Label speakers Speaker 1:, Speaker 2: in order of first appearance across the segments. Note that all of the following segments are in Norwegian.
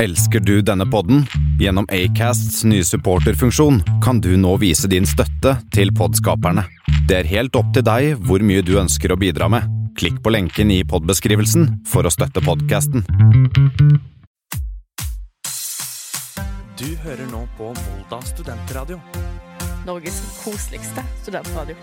Speaker 1: Elsker du denne podden? Gjennom Acasts nye supporterfunksjon kan du nå vise din støtte til podskaperne. Det er helt opp til deg hvor mye du ønsker å bidra med. Klikk på lenken i podbeskrivelsen for å støtte podkasten.
Speaker 2: Du hører nå på Volda studentradio.
Speaker 3: Norges koseligste studentradio.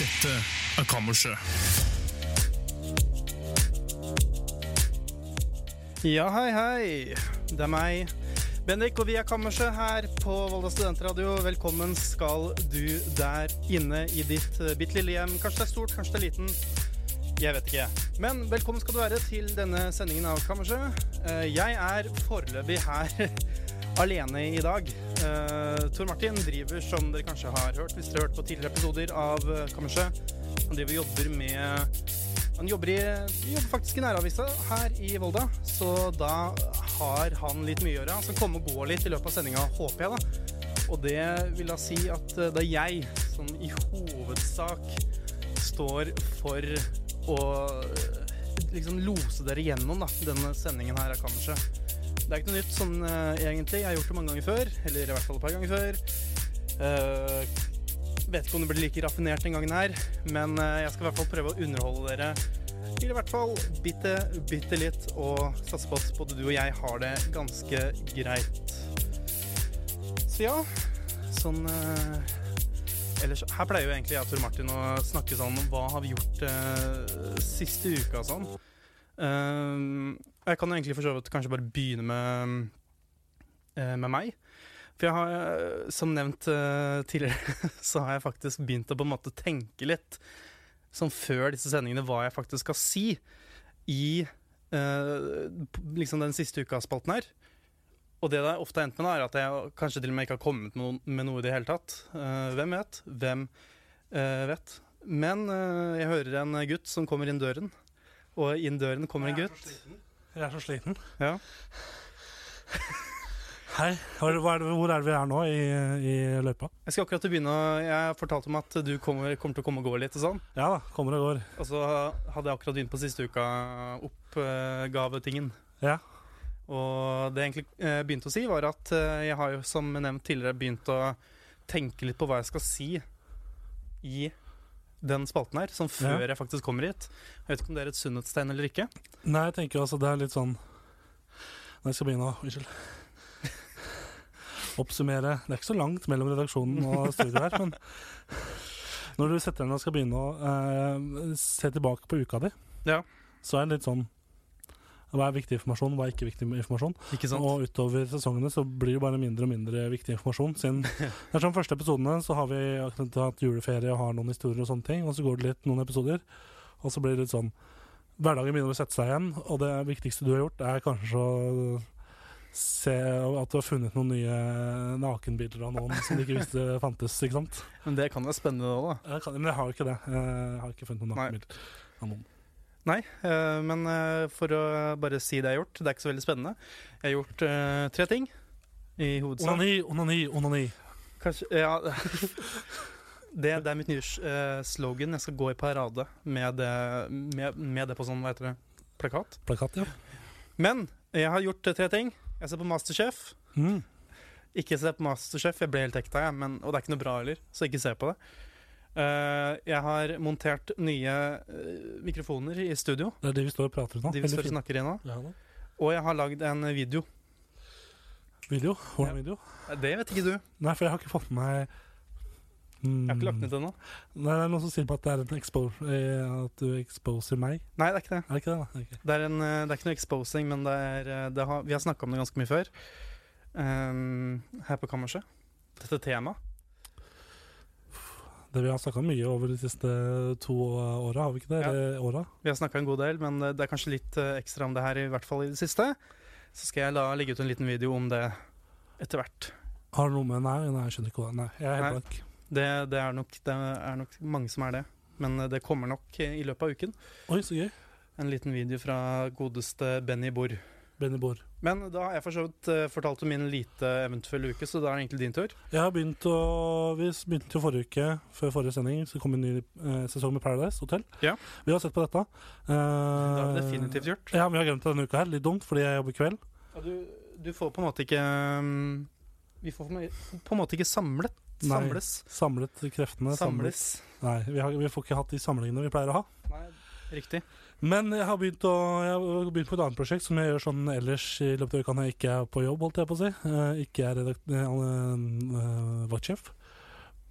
Speaker 4: Dette er Kammerset.
Speaker 5: Ja, hei, hei. Det er meg, Bendik, og vi er Kammerset her på Volda studentradio. Velkommen skal du der inne i ditt eh, bitte lille hjem. Kanskje det er stort, kanskje det er liten. Jeg vet ikke. Men velkommen skal du være til denne sendingen av Kammerset. Eh, Jeg er foreløpig her alene i dag. Eh, Tor Martin driver, som dere kanskje har hørt hvis dere har hørt på tidligere episoder av eh, Kammerset, han driver og jobber med han jobber, i, jobber faktisk i næravisa her i Volda, så da har han litt mye å gjøre. Han skal komme og gå litt i løpet av sendinga, håper jeg, da. Og det vil da si at eh, det er jeg som i hovedsak står for å eh, liksom lose dere gjennom da, denne sendingen her av Kammerset. Det er ikke noe nytt sånn eh, egentlig. Jeg har gjort det mange ganger før, eller i hvert fall et par ganger før. Eh, Vet ikke om det blir like raffinert den gangen her, men eh, jeg skal i hvert fall prøve å underholde dere. Til i hvert fall bitte, bitte litt, og satse på at både du og jeg har det ganske greit. Så ja, sånn eh, Ellers, her pleier jo egentlig jeg og Tor Martin å snakke sånn Hva har vi gjort eh, siste uka og sånn? Eh, og jeg kan jo egentlig for så vidt kanskje bare begynne med, eh, med meg. For jeg har, eh, som nevnt eh, tidligere så har jeg faktisk begynt å på en måte tenke litt sånn før disse sendingene hva jeg faktisk skal si i eh, p- liksom den siste uka-spalten her. Og det det ofte har endt med, da, er at jeg kanskje til og med ikke har kommet med, noen, med noe i det hele tatt. Eh, hvem vet? Hvem eh, vet? Men eh, jeg hører en gutt som kommer inn døren, og inn døren kommer en gutt.
Speaker 4: Jeg er så sliten.
Speaker 5: Ja.
Speaker 4: Hei, hvor, hva er det, hvor er det vi er nå i, i løypa?
Speaker 5: Jeg skal akkurat begynne å Jeg fortalte om at du kommer, kommer til å komme og gå litt og sånn.
Speaker 4: Ja da, kommer og går.
Speaker 5: Og så hadde jeg akkurat begynt på siste uka oppgavetingen.
Speaker 4: Ja.
Speaker 5: Og det jeg egentlig eh, begynte å si, var at eh, jeg har jo som nevnt tidligere begynt å tenke litt på hva jeg skal si i den spalten her, sånn før jeg faktisk kommer hit. Jeg vet ikke om det er et sunnhetstegn eller ikke.
Speaker 4: Nei, jeg tenker altså det er litt sånn Nei, jeg skal begynne å Unnskyld. Oppsummere. Det er ikke så langt mellom redaksjonen og studioet her, men når du setter deg ned og skal begynne å eh, se tilbake på uka di,
Speaker 5: Ja.
Speaker 4: så er det litt sånn Hva er viktig informasjon, hva er ikke viktig informasjon?
Speaker 5: Ikke sant?
Speaker 4: Og utover sesongene så blir det bare mindre og mindre viktig informasjon. Siden det er sånn første episodene så har vi akkurat hatt juleferie og har noen historier og sånne ting, og så går det litt noen episoder, og så blir det litt sånn Hverdagen begynner å sette seg igjen, og det viktigste du har gjort, er kanskje å se at du har funnet noen nye nakenbilder av noen som du ikke visste fantes, ikke sant?
Speaker 5: Men det kan være spennende òg, da.
Speaker 4: Jeg kan, men jeg har jo ikke det. Jeg har ikke funnet noen
Speaker 5: Nei.
Speaker 4: nakenbilder av noen.
Speaker 5: Nei, eh, men eh, for å bare si det jeg har gjort, det er ikke så veldig spennende. Jeg har gjort eh, tre ting i hovedsak.
Speaker 4: Onani, onani, onani.
Speaker 5: Kanskje, ja det, det er mitt nye eh, slogan. Jeg skal gå i parade med det, med, med det på sånn, hva heter det, plakat.
Speaker 4: Plakat, ja.
Speaker 5: Men jeg har gjort eh, tre ting. Jeg ser på Masterchef.
Speaker 4: Mm.
Speaker 5: Ikke se på Masterchef, jeg ble helt hekta, jeg, men, og det er ikke noe bra heller, så ikke se på det. Eh, jeg har montert nye eh, mikrofoner i studio,
Speaker 4: Det er de vi står og prater om nå.
Speaker 5: de vi
Speaker 4: Veldig
Speaker 5: står og
Speaker 4: fint.
Speaker 5: snakker i nå.
Speaker 4: Ja, da.
Speaker 5: Og jeg har lagd en video.
Speaker 4: Video? Hvordan
Speaker 5: Ja.
Speaker 4: video?
Speaker 5: Det vet ikke du. Jeg
Speaker 4: Nei, for jeg har ikke fått med meg mm,
Speaker 5: har ikke lagt ned det ennå.
Speaker 4: Nei, det er noen som sier på at det er en expo eh, At du exposer meg.
Speaker 5: Nei, det er ikke det.
Speaker 4: Er det ikke det? da? Ok.
Speaker 5: Det er, en, eh, det er ikke noe exposing, men det er, eh, det har, vi har snakka om det ganske mye før. ehm, her på kammerset. Dette temaet.
Speaker 4: Det Vi har snakka mye over de siste to åra, har vi ikke det?
Speaker 5: Ja.
Speaker 4: Eller åra?
Speaker 5: Vi har snakka en god del, men eh, det er kanskje litt eh, ekstra om det her, i hvert fall i det siste. Så skal jeg la legge ut en liten video om det etter hvert.
Speaker 4: Har du noe med Nei, nei jeg skjønner ikke hva Nei, jeg er helt
Speaker 5: Nei.
Speaker 4: blank.
Speaker 5: Det, det, er nok, det er nok mange som er det. Men eh, det kommer nok eh, i løpet av uken.
Speaker 4: Oi, så gøy.
Speaker 5: En liten video fra godeste Benny Borr.
Speaker 4: Benny Bård.
Speaker 5: Men da har jeg for så vidt eh, fortalt om min lite eventuelle uke, så da er det egentlig din tur.
Speaker 4: Jeg har begynt å Vi s- begynte jo forrige uke, før forrige sending, så kom en ny eh, sesong med Paradise Hotel.
Speaker 5: Ja.
Speaker 4: Vi har sett på dette.
Speaker 5: Det har vi
Speaker 4: Eh,
Speaker 5: definitivt gjort.
Speaker 4: Ja, men jeg har glemt det denne uka her. Litt dumt, fordi jeg jobber kveld.
Speaker 5: Og du, du får på en måte ikke mm, Vi får på en- på en måte ikke samlet.
Speaker 4: Nei.
Speaker 5: Samles.
Speaker 4: Samlet kreftene. Samlet.
Speaker 5: Samles.
Speaker 4: Nei, vi, har, vi får ikke hatt de samlingene vi pleier å ha.
Speaker 5: Nei, riktig.
Speaker 4: Men jeg har begynt, å, jeg har begynt på et annet prosjekt som jeg gjør sånn ellers i løpet av uka når jeg ikke er på jobb, holdt jeg på å si. Eh, ikke er redakt... eh, eh, vaktsjef.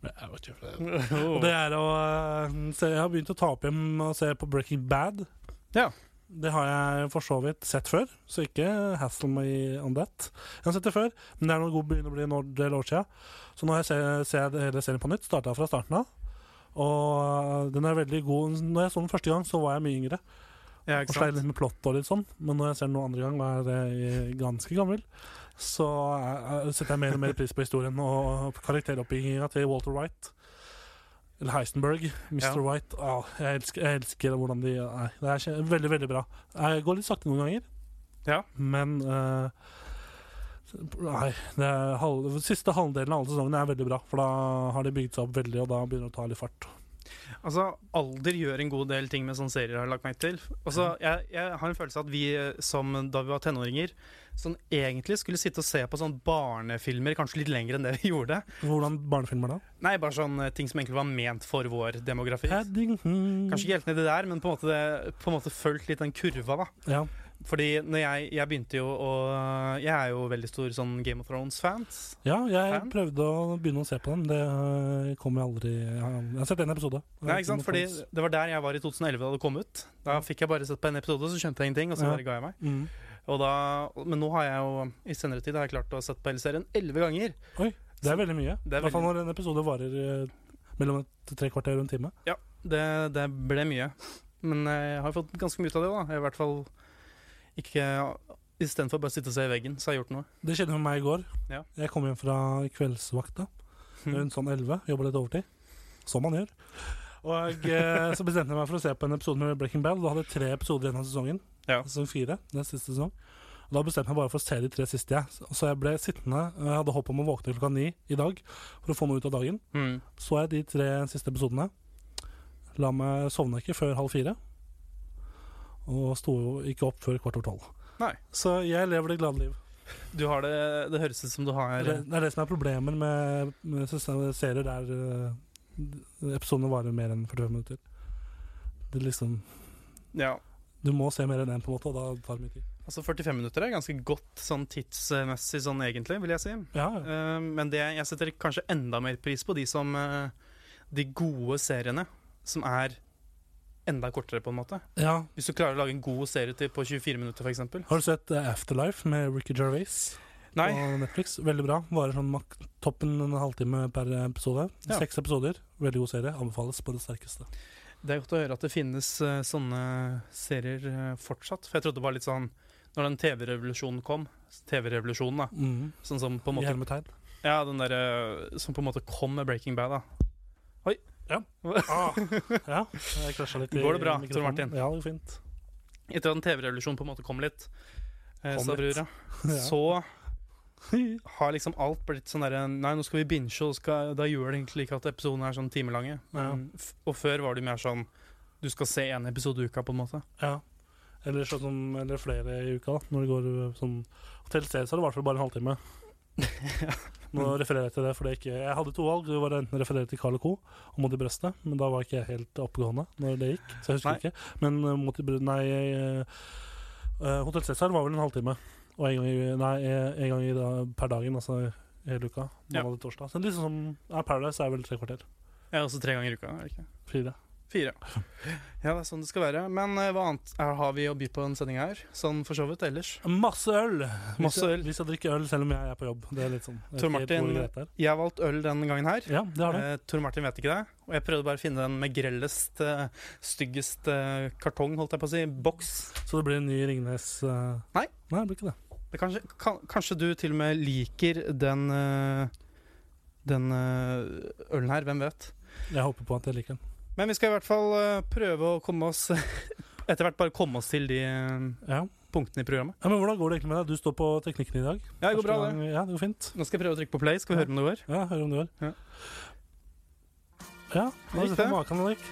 Speaker 4: Jeg er vaktsjef. det er-
Speaker 5: Oh.
Speaker 4: Og det er å eh, se, Jeg har begynt å ta opp hjem og se på Breaking Bad.
Speaker 5: Ja.
Speaker 4: Det har jeg for så vidt sett før, så ikke hassle me on that. Jeg har sett det før, men det er noe god begynner å bli en år- del år siden. Så nå har jeg se- ser jeg hele serien på nytt. Starta fra starten av. Og eh, den er veldig god. Når jeg så den første gang, så var jeg mye yngre.
Speaker 5: Ja,
Speaker 4: Og
Speaker 5: ikke
Speaker 4: sleit
Speaker 5: sant?
Speaker 4: litt med plott og litt sånn. Men når jeg ser den nå andre gang, og er eh, ganske gammel, så er- er- setter jeg mer og mer pris på historien og karakteroppbygginga til Walter White. Eller Heisenberg.
Speaker 5: Ja.
Speaker 4: Mr. White. Ah, jeg, elsker, jeg elsker hvordan de er. Det er kje- veldig, veldig bra. Jeg går litt sakte noen ganger,
Speaker 5: Ja.
Speaker 4: men eh, Nei. Det er halv, siste halvdelen av alle sesongene er veldig bra, for da har de bygd seg opp veldig, og da begynner det å ta litt fart.
Speaker 5: Altså, alder gjør en god del ting med sånne serier, har jeg lagt meg til. Altså, jeg, jeg har en følelse av at vi eh, som da vi var tenåringer, sånn egentlig skulle sitte og se på sånne barnefilmer kanskje litt lenger enn det vi gjorde.
Speaker 4: Hvordan barnefilmer da?
Speaker 5: Nei, bare sånne ting som egentlig var ment for vår demografi.
Speaker 4: Paddington.
Speaker 5: Kanskje ikke helt nedi der, men på en måte, det, på en måte fulgt litt den kurva, da.
Speaker 4: Ja.
Speaker 5: Fordi når jeg, jeg begynte jo å Jeg er jo veldig stor sånn Game of Thrones-fans.
Speaker 4: Ja, jeg
Speaker 5: Fan?
Speaker 4: prøvde å begynne å se på den. Det øh, kom jeg aldri Jeg har, jeg har sett én episode.
Speaker 5: Nei, ikke sant? Fordi
Speaker 4: Mm.
Speaker 5: Det var der jeg var i 2011 da det kom ut. Da fikk jeg bare sett på en episode, så skjønte jeg ingenting, og så
Speaker 4: Ja.
Speaker 5: bare ga jeg meg.
Speaker 4: Mm.
Speaker 5: Og da, men nå har jeg jo i senere tid har jeg klart å sette på hele serien elleve ganger.
Speaker 4: Det er veldig mye.
Speaker 5: Det er
Speaker 4: I hvert fall
Speaker 5: veldig-
Speaker 4: når en episode varer øh, mellom et tre kvarter og en time.
Speaker 5: Det, det ble mye. Men eh, jeg har fått ganske mye ut av det. da Jeg har I hvert fall ikke Istedenfor bare å sitte og se i veggen, så har jeg gjort noe.
Speaker 4: Det skjedde med meg i går.
Speaker 5: Ja. Hm.
Speaker 4: Jeg kom hjem fra kveldsvakta rundt sånn 11. Jobba litt overtid. Som man gjør. Og eh, så bestemte jeg meg for å se på en episode med Breaking Bad. Da hadde jeg tre episoder igjen av sesongen.
Speaker 5: Ja.
Speaker 4: Sesong fire. Det er siste sesong. Og da bestemte jeg meg bare for å se de tre siste. Jeg. Så jeg ble sittende. Jeg hadde håp om å våkne klokka ni i dag for å få noe ut av dagen.
Speaker 5: Mm.
Speaker 4: Så jeg de tre siste episodene. La meg sovne ikke før halv fire. Og sto jo ikke opp før kvart over tolv.
Speaker 5: Nei.
Speaker 4: Så jeg lever det glade liv.
Speaker 5: Du har det, det høres ut som du har
Speaker 4: Det, det er det som er problemet med, med ses- serier der eh, episodene varer mer enn 45 minutter. Det er liksom,
Speaker 5: Ja.
Speaker 4: du må se mer enn én, på en måte, og da tar det mye tid.
Speaker 5: Altså 45 minutter er ganske godt sånn tidsmessig sånn egentlig, vil jeg si.
Speaker 4: Ja, ja.
Speaker 5: Eh, men det, jeg setter kanskje enda mer pris på de som eh, De gode seriene som er enda kortere, på en måte.
Speaker 4: ja.
Speaker 5: Hvis du klarer å lage en god serie til på 24 minutter, f.eks.
Speaker 4: Har du sett eh, Afterlife med Ricky Gervais?
Speaker 5: Nei.
Speaker 4: på Netflix. Veldig bra. Varer sånn mak toppen en halvtime per episode.
Speaker 5: Ja.
Speaker 4: Seks episoder. Veldig god serie. Anbefales på det sterkeste.
Speaker 5: Det er godt å høre at det finnes eh, sånne serier eh, fortsatt. For jeg trodde det var litt sånn Når den TV-revolusjonen kom TV-revolusjonen, da.
Speaker 4: Mm.
Speaker 5: Sånn som på en
Speaker 4: I
Speaker 5: måte
Speaker 4: hermetegn.
Speaker 5: Ja, den derre som på en måte kom med Breaking Bad, da. Oi.
Speaker 4: Ja. Ja, jeg krasja litt i
Speaker 5: Ah. Går det bra,
Speaker 4: mikrofonen.
Speaker 5: Tor Martin?
Speaker 4: Ja, det går fint.
Speaker 5: Etter at den TV-revolusjonen på en måte kom litt, eh,
Speaker 4: Kom litt.
Speaker 5: Stavrura,
Speaker 4: Ja.
Speaker 5: så har liksom alt blitt sånn derre Nei, nå skal vi binge, og skal, da gjør det egentlig ikke at episodene er sånn timelange.
Speaker 4: Ja.
Speaker 5: Mm, f- Og før var det mer sånn Du skal se én episode i uka, på en måte.
Speaker 4: ja. Eller, sånn, som- eller flere i uka, da. Når det går sånn Hotell Cæsar er det i hvert fall bare en halvtime. Nå refererer jeg til det, for det er ikke Jeg hadde to valg. Det var enten å referere til Carl Co. og Mot i brøstet, men da var ikke jeg helt oppegående når det gikk, så jeg husker
Speaker 5: Nei.
Speaker 4: ikke. Men eh, Mot i brøstet Nei, uh, Hotell Cæsar var vel en halvtime. Og en gang, i, nei, eh, en gang i da, per dagen, altså hele uka.
Speaker 5: Ja.
Speaker 4: Mandag til torsdag. Så liksom som ja, Paradise er vel tre kvarter.
Speaker 5: Ja, også tre ganger i uka. er det ikke?
Speaker 4: Fire.
Speaker 5: Fire. Ja, det er sånn det skal være. Men eh, hva annet er, har vi å by på denne sendinga her? Sånn for så vidt ellers.
Speaker 4: Masse øl! Vi
Speaker 5: Masse
Speaker 4: skal-
Speaker 5: øl.
Speaker 4: Vi skal drikke øl selv om jeg er på jobb. Det er litt sånn. jeg
Speaker 5: Tor
Speaker 4: vet ikke helt
Speaker 5: Martin-
Speaker 4: hvor greit det er.
Speaker 5: Jeg har valgt øl denne gangen her.
Speaker 4: Ja, det har du.
Speaker 5: Eh, Tor Martin vet ikke det. Og jeg prøvde bare å finne den med grellest, eh, styggest eh, kartong, holdt jeg på å si. Boks.
Speaker 4: Så det blir en ny Ringnes eh,
Speaker 5: Nei.
Speaker 4: Nei, det blir ikke det.
Speaker 5: Det kanskje, kan, kanskje du til og med liker den eh, den eh, ølen her. Hvem vet?
Speaker 4: Jeg håper på at jeg liker den.
Speaker 5: Men vi skal i hvert fall eh, prøve å komme oss Etter hvert bare komme oss til de eh,
Speaker 4: Ja.
Speaker 5: punktene i programmet.
Speaker 4: ja, Men hvordan går det egentlig med deg? Du står på teknikken i dag.
Speaker 5: Ja, det går bra,
Speaker 4: Første
Speaker 5: det.
Speaker 4: gang- Ja, det går fint.
Speaker 5: Nå skal jeg prøve å trykke på play. Skal vi høre om det går?
Speaker 4: Ja, hør om det går.
Speaker 5: Ja.
Speaker 4: Ja, da
Speaker 5: Gikk
Speaker 4: får
Speaker 5: det?
Speaker 4: maken, Henrik.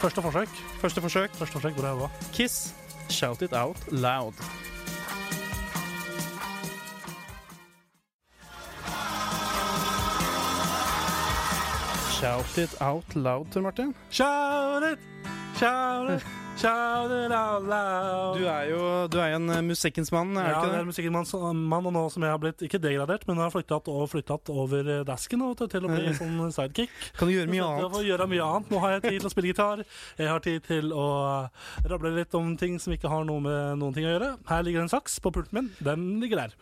Speaker 4: Første forsøk.
Speaker 5: Første forsøk.
Speaker 4: Første forsøk, bra jobba.
Speaker 5: Kiss. Shout it out loud. Shout it out loud, Tor Martin.
Speaker 4: Shout it, shout it, shout it out loud.
Speaker 5: Du er jo du er jo en eh, musikkens mann, er
Speaker 4: ja,
Speaker 5: du
Speaker 4: det
Speaker 5: ikke
Speaker 4: er musikken mann, mann, og nå som jeg har blitt ikke degradert, men har flyttet og flyttet over eh, dasken nå, vet du, til å bli en sånn sidekick.
Speaker 5: det? Kan du gjøre mye
Speaker 4: Så jeg
Speaker 5: annet?
Speaker 4: får gjøre mye annet. Nå har jeg tid til å spille gitar. Jeg har tid til å eh, rable litt om ting som ikke har noe med noen ting å gjøre. Her ligger en saks på pulten min. Den ligger der.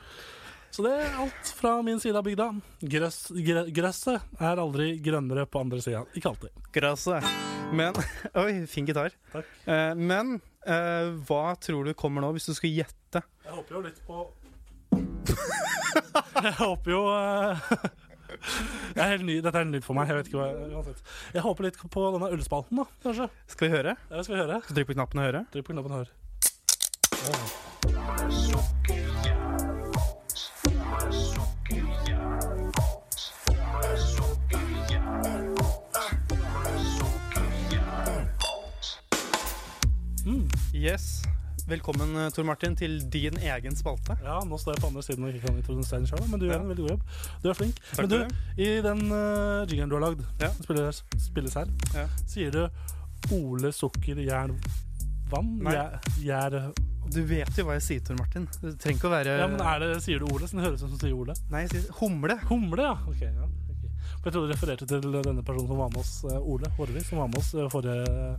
Speaker 4: Så det er alt fra min side av bygda. Grøss, gre- Grøsset er aldri grønnere på andre sida. Ikke alltid.
Speaker 5: Gresset. Men Oi, fin gitar.
Speaker 4: Takk.
Speaker 5: Eh, men eh, hva tror du kommer nå, hvis du skulle gjette?
Speaker 4: Jeg håper jo litt på Jeg håper jo eh, Jeg er helt ny. Dette er nytt for meg. Jeg vet ikke hva uansett. Jeg håper litt på denne ølspalten, da, kanskje.
Speaker 5: Skal vi høre?
Speaker 4: Det skal vi høre.
Speaker 5: Skal vi trykke på knappen og høre?
Speaker 4: Trykk på knappen her.
Speaker 5: Yes. Velkommen, eh, Tor Martin, til din egen spalte.
Speaker 4: Ja, nå står jeg på andre siden og ikke kan introdusere den selv, men du gjør en veldig god jobb. Du er flink.
Speaker 5: Takk
Speaker 4: men du,
Speaker 5: for det.
Speaker 4: i den uh, jingeren du har lagd,
Speaker 5: Ja.
Speaker 4: som spilles, spilles her,
Speaker 5: Ja.
Speaker 4: sier du Ole sukker jern vann?
Speaker 5: Nei.
Speaker 4: Jær, jær,
Speaker 5: Du vet jo hva jeg sier, Tor Martin. Du trenger ikke å være
Speaker 4: ja, men er det, sier du Ole? Så det høres ut som du sier Ole.
Speaker 5: Nei, jeg sier humle.
Speaker 4: Humle, ja. Ok, ja. ok. For jeg trodde du refererte til denne personen som var med oss, eh, Ole Horvik, som var med oss eh, forrige,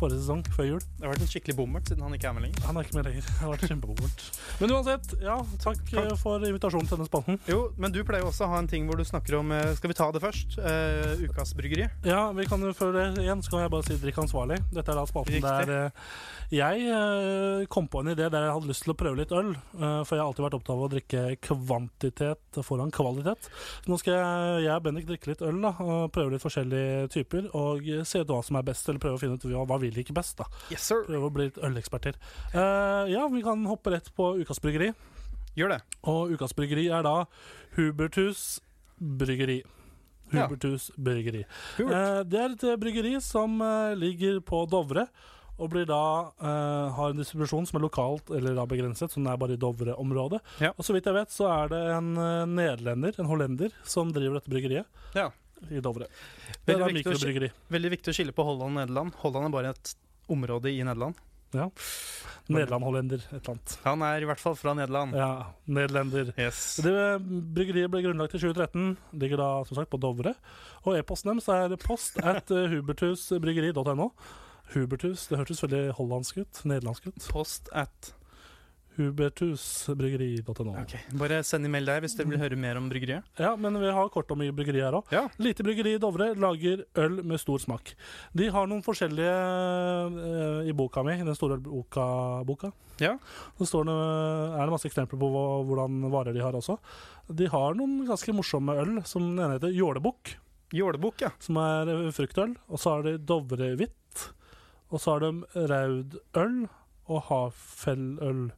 Speaker 4: forrige sesong, før jul.
Speaker 5: Det har vært en skikkelig bommert siden han ikke er med lenger.
Speaker 4: Han er ikke med lenger. Det har vært kjempepopulert. Men uansett, ja, takk eh, for invitasjonen til denne spalten.
Speaker 5: Jo, men du pleier jo også å ha en ting hvor du snakker om eh, Skal vi ta det først? Eh, ukas bryggeri.
Speaker 4: Ja, vi kan jo før det igjen så kan jeg bare si drikk ansvarlig. Dette er da spalten
Speaker 5: Riktig.
Speaker 4: der eh, jeg eh, kom på en idé der jeg hadde lyst til å prøve litt øl. eh, for jeg har alltid vært opptatt av å drikke kvantitet eh, foran kvalitet. Så nå skal jeg, jeg og Bendik drikke litt øl da, og prøve litt forskjellige typer. Og se ut hva som er best, eller prøve å finne ut hva, hva vi liker best. da.
Speaker 5: Yes, sir.
Speaker 4: Prøve å bli litt øleksperter. Eh, ja, vi kan hoppe rett på Ukas bryggeri.
Speaker 5: Gjør det.
Speaker 4: Og Ukas bryggeri er da Hubertus bryggeri.
Speaker 5: Ja.
Speaker 4: Hubertus bryggeri.
Speaker 5: Hubert.
Speaker 4: Eh, det er et eh, bryggeri som eh, ligger på Dovre. Og blir da, eh, har en distribusjon som er lokalt eller da begrenset, som er bare i Dovre-området.
Speaker 5: Ja.
Speaker 4: Og så vidt jeg vet, så er det en eh, nederlender, en hollender, som driver dette bryggeriet
Speaker 5: Ja.
Speaker 4: i Dovre. Det
Speaker 5: Veldig
Speaker 4: er
Speaker 5: viktig,
Speaker 4: da
Speaker 5: å, skille-
Speaker 4: mikrobryggeri.
Speaker 5: veldig viktig å skille på Holland og Nederland. Holland er bare et område i Nederland.
Speaker 4: Nederland-hollender, et eller annet.
Speaker 5: Han er i hvert fall fra Nederland.
Speaker 4: Ja, nederlender.
Speaker 5: Yes.
Speaker 4: Det Bryggeriet ble grunnlagt i 2013, ligger da som sagt på Dovre. Og e-posten deres er post at eh, hubertusbryggeri.no. Hubertus, det hørtes veldig hollandsk ut. Nederlandsk ut.
Speaker 5: Post at
Speaker 4: Hubertusbryggeri.no.
Speaker 5: Ok, Bare send e-mail der hvis dere vil høre mer om bryggeriet.
Speaker 4: Ja, men vi har kort om i bryggeriet her òg.
Speaker 5: Ja.
Speaker 4: Lite bryggeri i Dovre lager øl med stor smak. De har noen forskjellige eh, i boka mi, i den store ølboka. Boka.
Speaker 5: Ja.
Speaker 4: Så står det, er det masse eksempler på hva, hvordan varer de har også. De har noen ganske morsomme øl, som den ene heter Jålebukk,
Speaker 5: Jålebukk, ja.
Speaker 4: som er eh, fruktøl. Og så har de Dovrehvitt. Og så har de Raudøl og Hafelløl.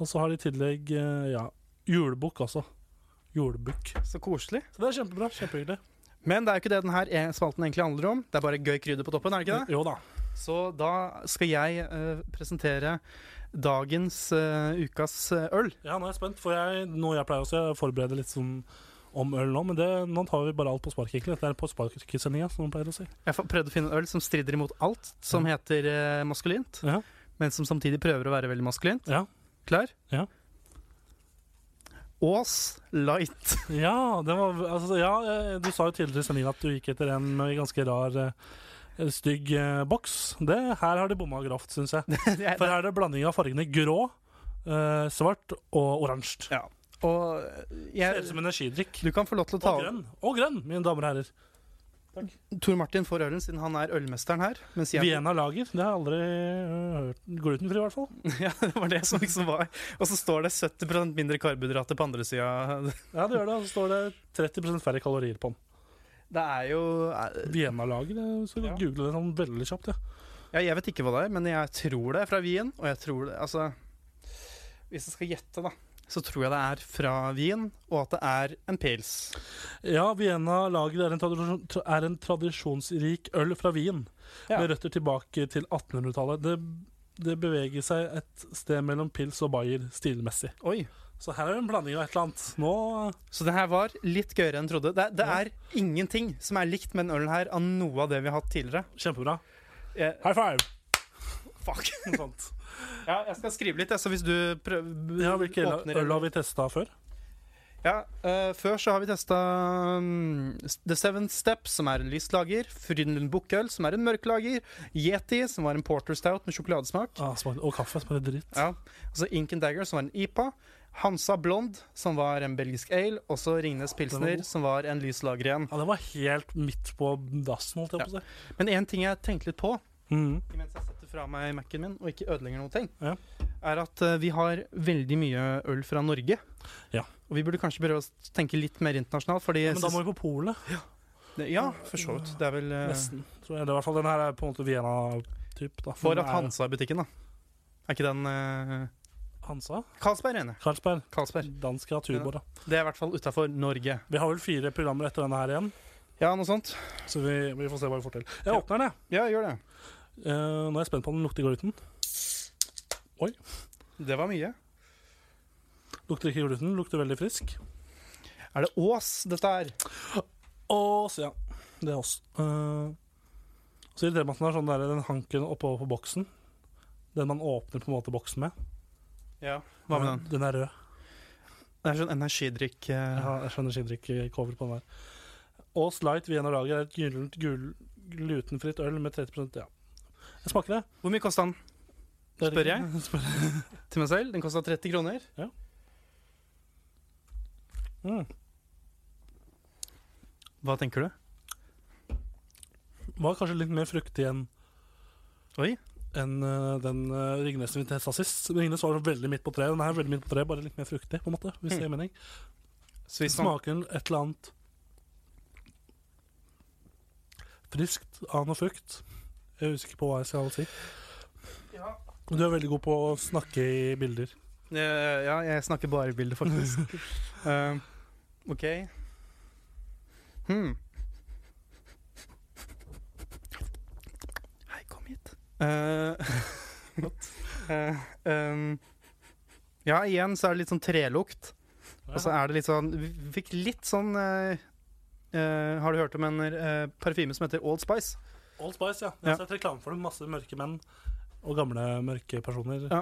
Speaker 4: Og så har de i tillegg eh, ja, julebukk også. Julebukk.
Speaker 5: Så koselig.
Speaker 4: Så det er kjempebra. Kjempehyggelig.
Speaker 5: Men det er jo ikke det denne spalten egentlig handler om. Det er bare gøy krydder på toppen, er det ikke det?
Speaker 4: Jo da.
Speaker 5: Så da skal jeg eh, presentere dagens eh, ukas eh, øl.
Speaker 4: Ja, nå er jeg spent, for jeg, noe jeg pleier også å forberede litt sånn om øl nå, men det, nå tar vi bare alt på sparket, egentlig. Dette er på sparkesendinga, som man pleier å si.
Speaker 5: Jeg fa- prøvde å finne en øl som strider imot alt som heter eh, maskulint,
Speaker 4: Ja.
Speaker 5: men som samtidig prøver å være veldig maskulint.
Speaker 4: Ja.
Speaker 5: Klar?
Speaker 4: Ja.
Speaker 5: Ås Light.
Speaker 4: Ja, det var, altså, ja eh, du sa jo tidligere i sendinga at du gikk etter en med ganske rar, eh, stygg eh, boks. Det, her har de bomma grovt, syns jeg.
Speaker 5: Det er,
Speaker 4: For her er det blanding av fargene grå, eh, svart og oransje.
Speaker 5: ja. Og eh,
Speaker 4: Ser ut
Speaker 5: jeg,
Speaker 4: som energidrikk.
Speaker 5: du kan få lov til å ta
Speaker 4: Og grønn, og grønn, mine damer og herrer.
Speaker 5: Tor Martin får ølen siden han er ølmesteren her. Mens jeg
Speaker 4: Vienna lager. Det har jeg aldri øh, hørt. Glutenfri, i hvert fall.
Speaker 5: ja, det var det som liksom var. Og så står det 70 mindre karbohydrater på andre sida.
Speaker 4: Ja, det gjør det. Og så står det 30 færre kalorier på den.
Speaker 5: Det er jo eh,
Speaker 4: Vienna lager. det- Så
Speaker 5: Ja.
Speaker 4: google det sånn veldig kjapt. Ja.
Speaker 5: Ja, jeg vet ikke hva det er, men jeg tror det er fra Wien. Og jeg tror det Altså, hvis jeg skal gjette, da, så tror jeg det er fra Wien, og at det er en pils.
Speaker 4: Ja, Vienna lager er en, tradisjon, tra- er en tradisjonsrik øl fra Wien,
Speaker 5: Ja.
Speaker 4: med røtter tilbake til 1800-tallet. Det, det beveger seg et sted mellom pils og bayer stilmessig.
Speaker 5: Oi.
Speaker 4: Så her er det en blanding av et eller annet. Nå eh,
Speaker 5: Så det her var litt gøyere enn jeg trodde. Det, det er ingenting som er likt med den ølen her av noe av det vi har hatt tidligere.
Speaker 4: Kjempebra.
Speaker 5: Jeg,
Speaker 4: High five!
Speaker 5: fuck.
Speaker 4: Noe sånt.
Speaker 5: Ja, jeg skal skrive litt, jeg, så hvis du prøver
Speaker 4: Ja, hvilke øl- øl har vi testa før?
Speaker 5: Ja, eh, Før så har vi testa mm, The Seven Step, som er en lys lager. Frydenlund Bukkøl, som er en mørk lager. Yeti, som var en porter stout med sjokoladesmak.
Speaker 4: Ah, smak- og kaffe smaker dritt.
Speaker 5: Ja, altså Ink and Dagger, som var en IPA. Hansa Blond, som var en belgisk ale. Og så Ringnes
Speaker 4: Den var
Speaker 5: Pilsner,
Speaker 4: god.
Speaker 5: som var en lys lager igjen.
Speaker 4: Ja, Det var helt midt på dassen, holdt jeg på å si.
Speaker 5: Men én ting jeg tenkte litt på,
Speaker 4: Mhm.
Speaker 5: mens jeg setter fra meg Mac-en min og ikke ødelegger noen ting,
Speaker 4: Ja.
Speaker 5: er at eh, vi har veldig mye øl fra Norge.
Speaker 4: Ja.
Speaker 5: Og vi burde kanskje prøve å tenke litt mer internasjonalt, fordi
Speaker 4: Men da må vi på polet.
Speaker 5: det, Ja, for så vidt. Det er vel eh,
Speaker 4: Nesten. Tror jeg. Eller i hvert fall den her er på en måte Vienna-typ. da.
Speaker 5: For
Speaker 4: Den
Speaker 5: at
Speaker 4: er-
Speaker 5: Hansa er butikken, da. Er ikke den eh,
Speaker 4: Hansa?
Speaker 5: Carlsberg, mener jeg.
Speaker 4: Karlsberg.
Speaker 5: Carlsberg.
Speaker 4: Dansk Naturbord, da.
Speaker 5: Det er i hvert fall utafor Norge.
Speaker 4: Vi har vel fire programmer etter denne her igjen,
Speaker 5: Ja, noe sånt.
Speaker 4: så vi, vi får se hva vi får til. Jeg
Speaker 5: Ja.
Speaker 4: åpner den, jeg.
Speaker 5: Ja, gjør det.
Speaker 4: Eh, nå er jeg spent på om den lukter gluten.
Speaker 5: Det var mye.
Speaker 4: Lukter ikke gluten, lukter veldig frisk.
Speaker 5: Er det Ås, dette her?
Speaker 4: Ås, ja. Det er oss. Eh, så irriterer meg at den har sånn der, den hanken oppover på boksen. Den man åpner på en måte boksen med.
Speaker 5: Ja, hva med den?
Speaker 4: Den er rød.
Speaker 5: Det er sånn energidrikk
Speaker 4: Jeg,
Speaker 5: eh,
Speaker 4: har, jeg skjønner skinndrikk-cover på den der. Ås Light Vienna Lager er et gyllent gul, glutenfritt øl med 30 ja. Jeg smaker det.
Speaker 5: Hvor mye kosta den
Speaker 4: Det er
Speaker 5: Spør
Speaker 4: ikke- Spør jeg.
Speaker 5: til meg selv? Den kosta 30 kroner.
Speaker 4: Mm.
Speaker 5: Hva tenker du?
Speaker 4: Var kanskje litt mer fruktig enn
Speaker 5: Oi.
Speaker 4: enn eh, den uh, Ringnesen vi testa sist. Ringnes var veldig midt på treet. Den her er veldig midt på treet, bare litt mer fruktig, på en måte.
Speaker 5: Hmm.
Speaker 4: Hvis det gir mening.
Speaker 5: Så hvis man,
Speaker 4: Smaker et eller annet friskt av noe frukt. Jeg er usikker på hva jeg skal si. Du er veldig god på å snakke i bilder.
Speaker 5: Eh, Ja, jeg snakker bare i bildet, faktisk. Eh, OK. Hmm. Hei, kom hit. Eh, eh, ehm, ja, igjen så er det litt sånn trelukt. Og så er det litt sånn Vi fikk litt sånn eh, eh, Har du hørt om en eh, parfyme som heter Old Spice?
Speaker 4: Old Spice, ja.
Speaker 5: Ja.
Speaker 4: Jeg har sett reklame for det. Masse mørke menn og gamle mørke personer.
Speaker 5: Ja.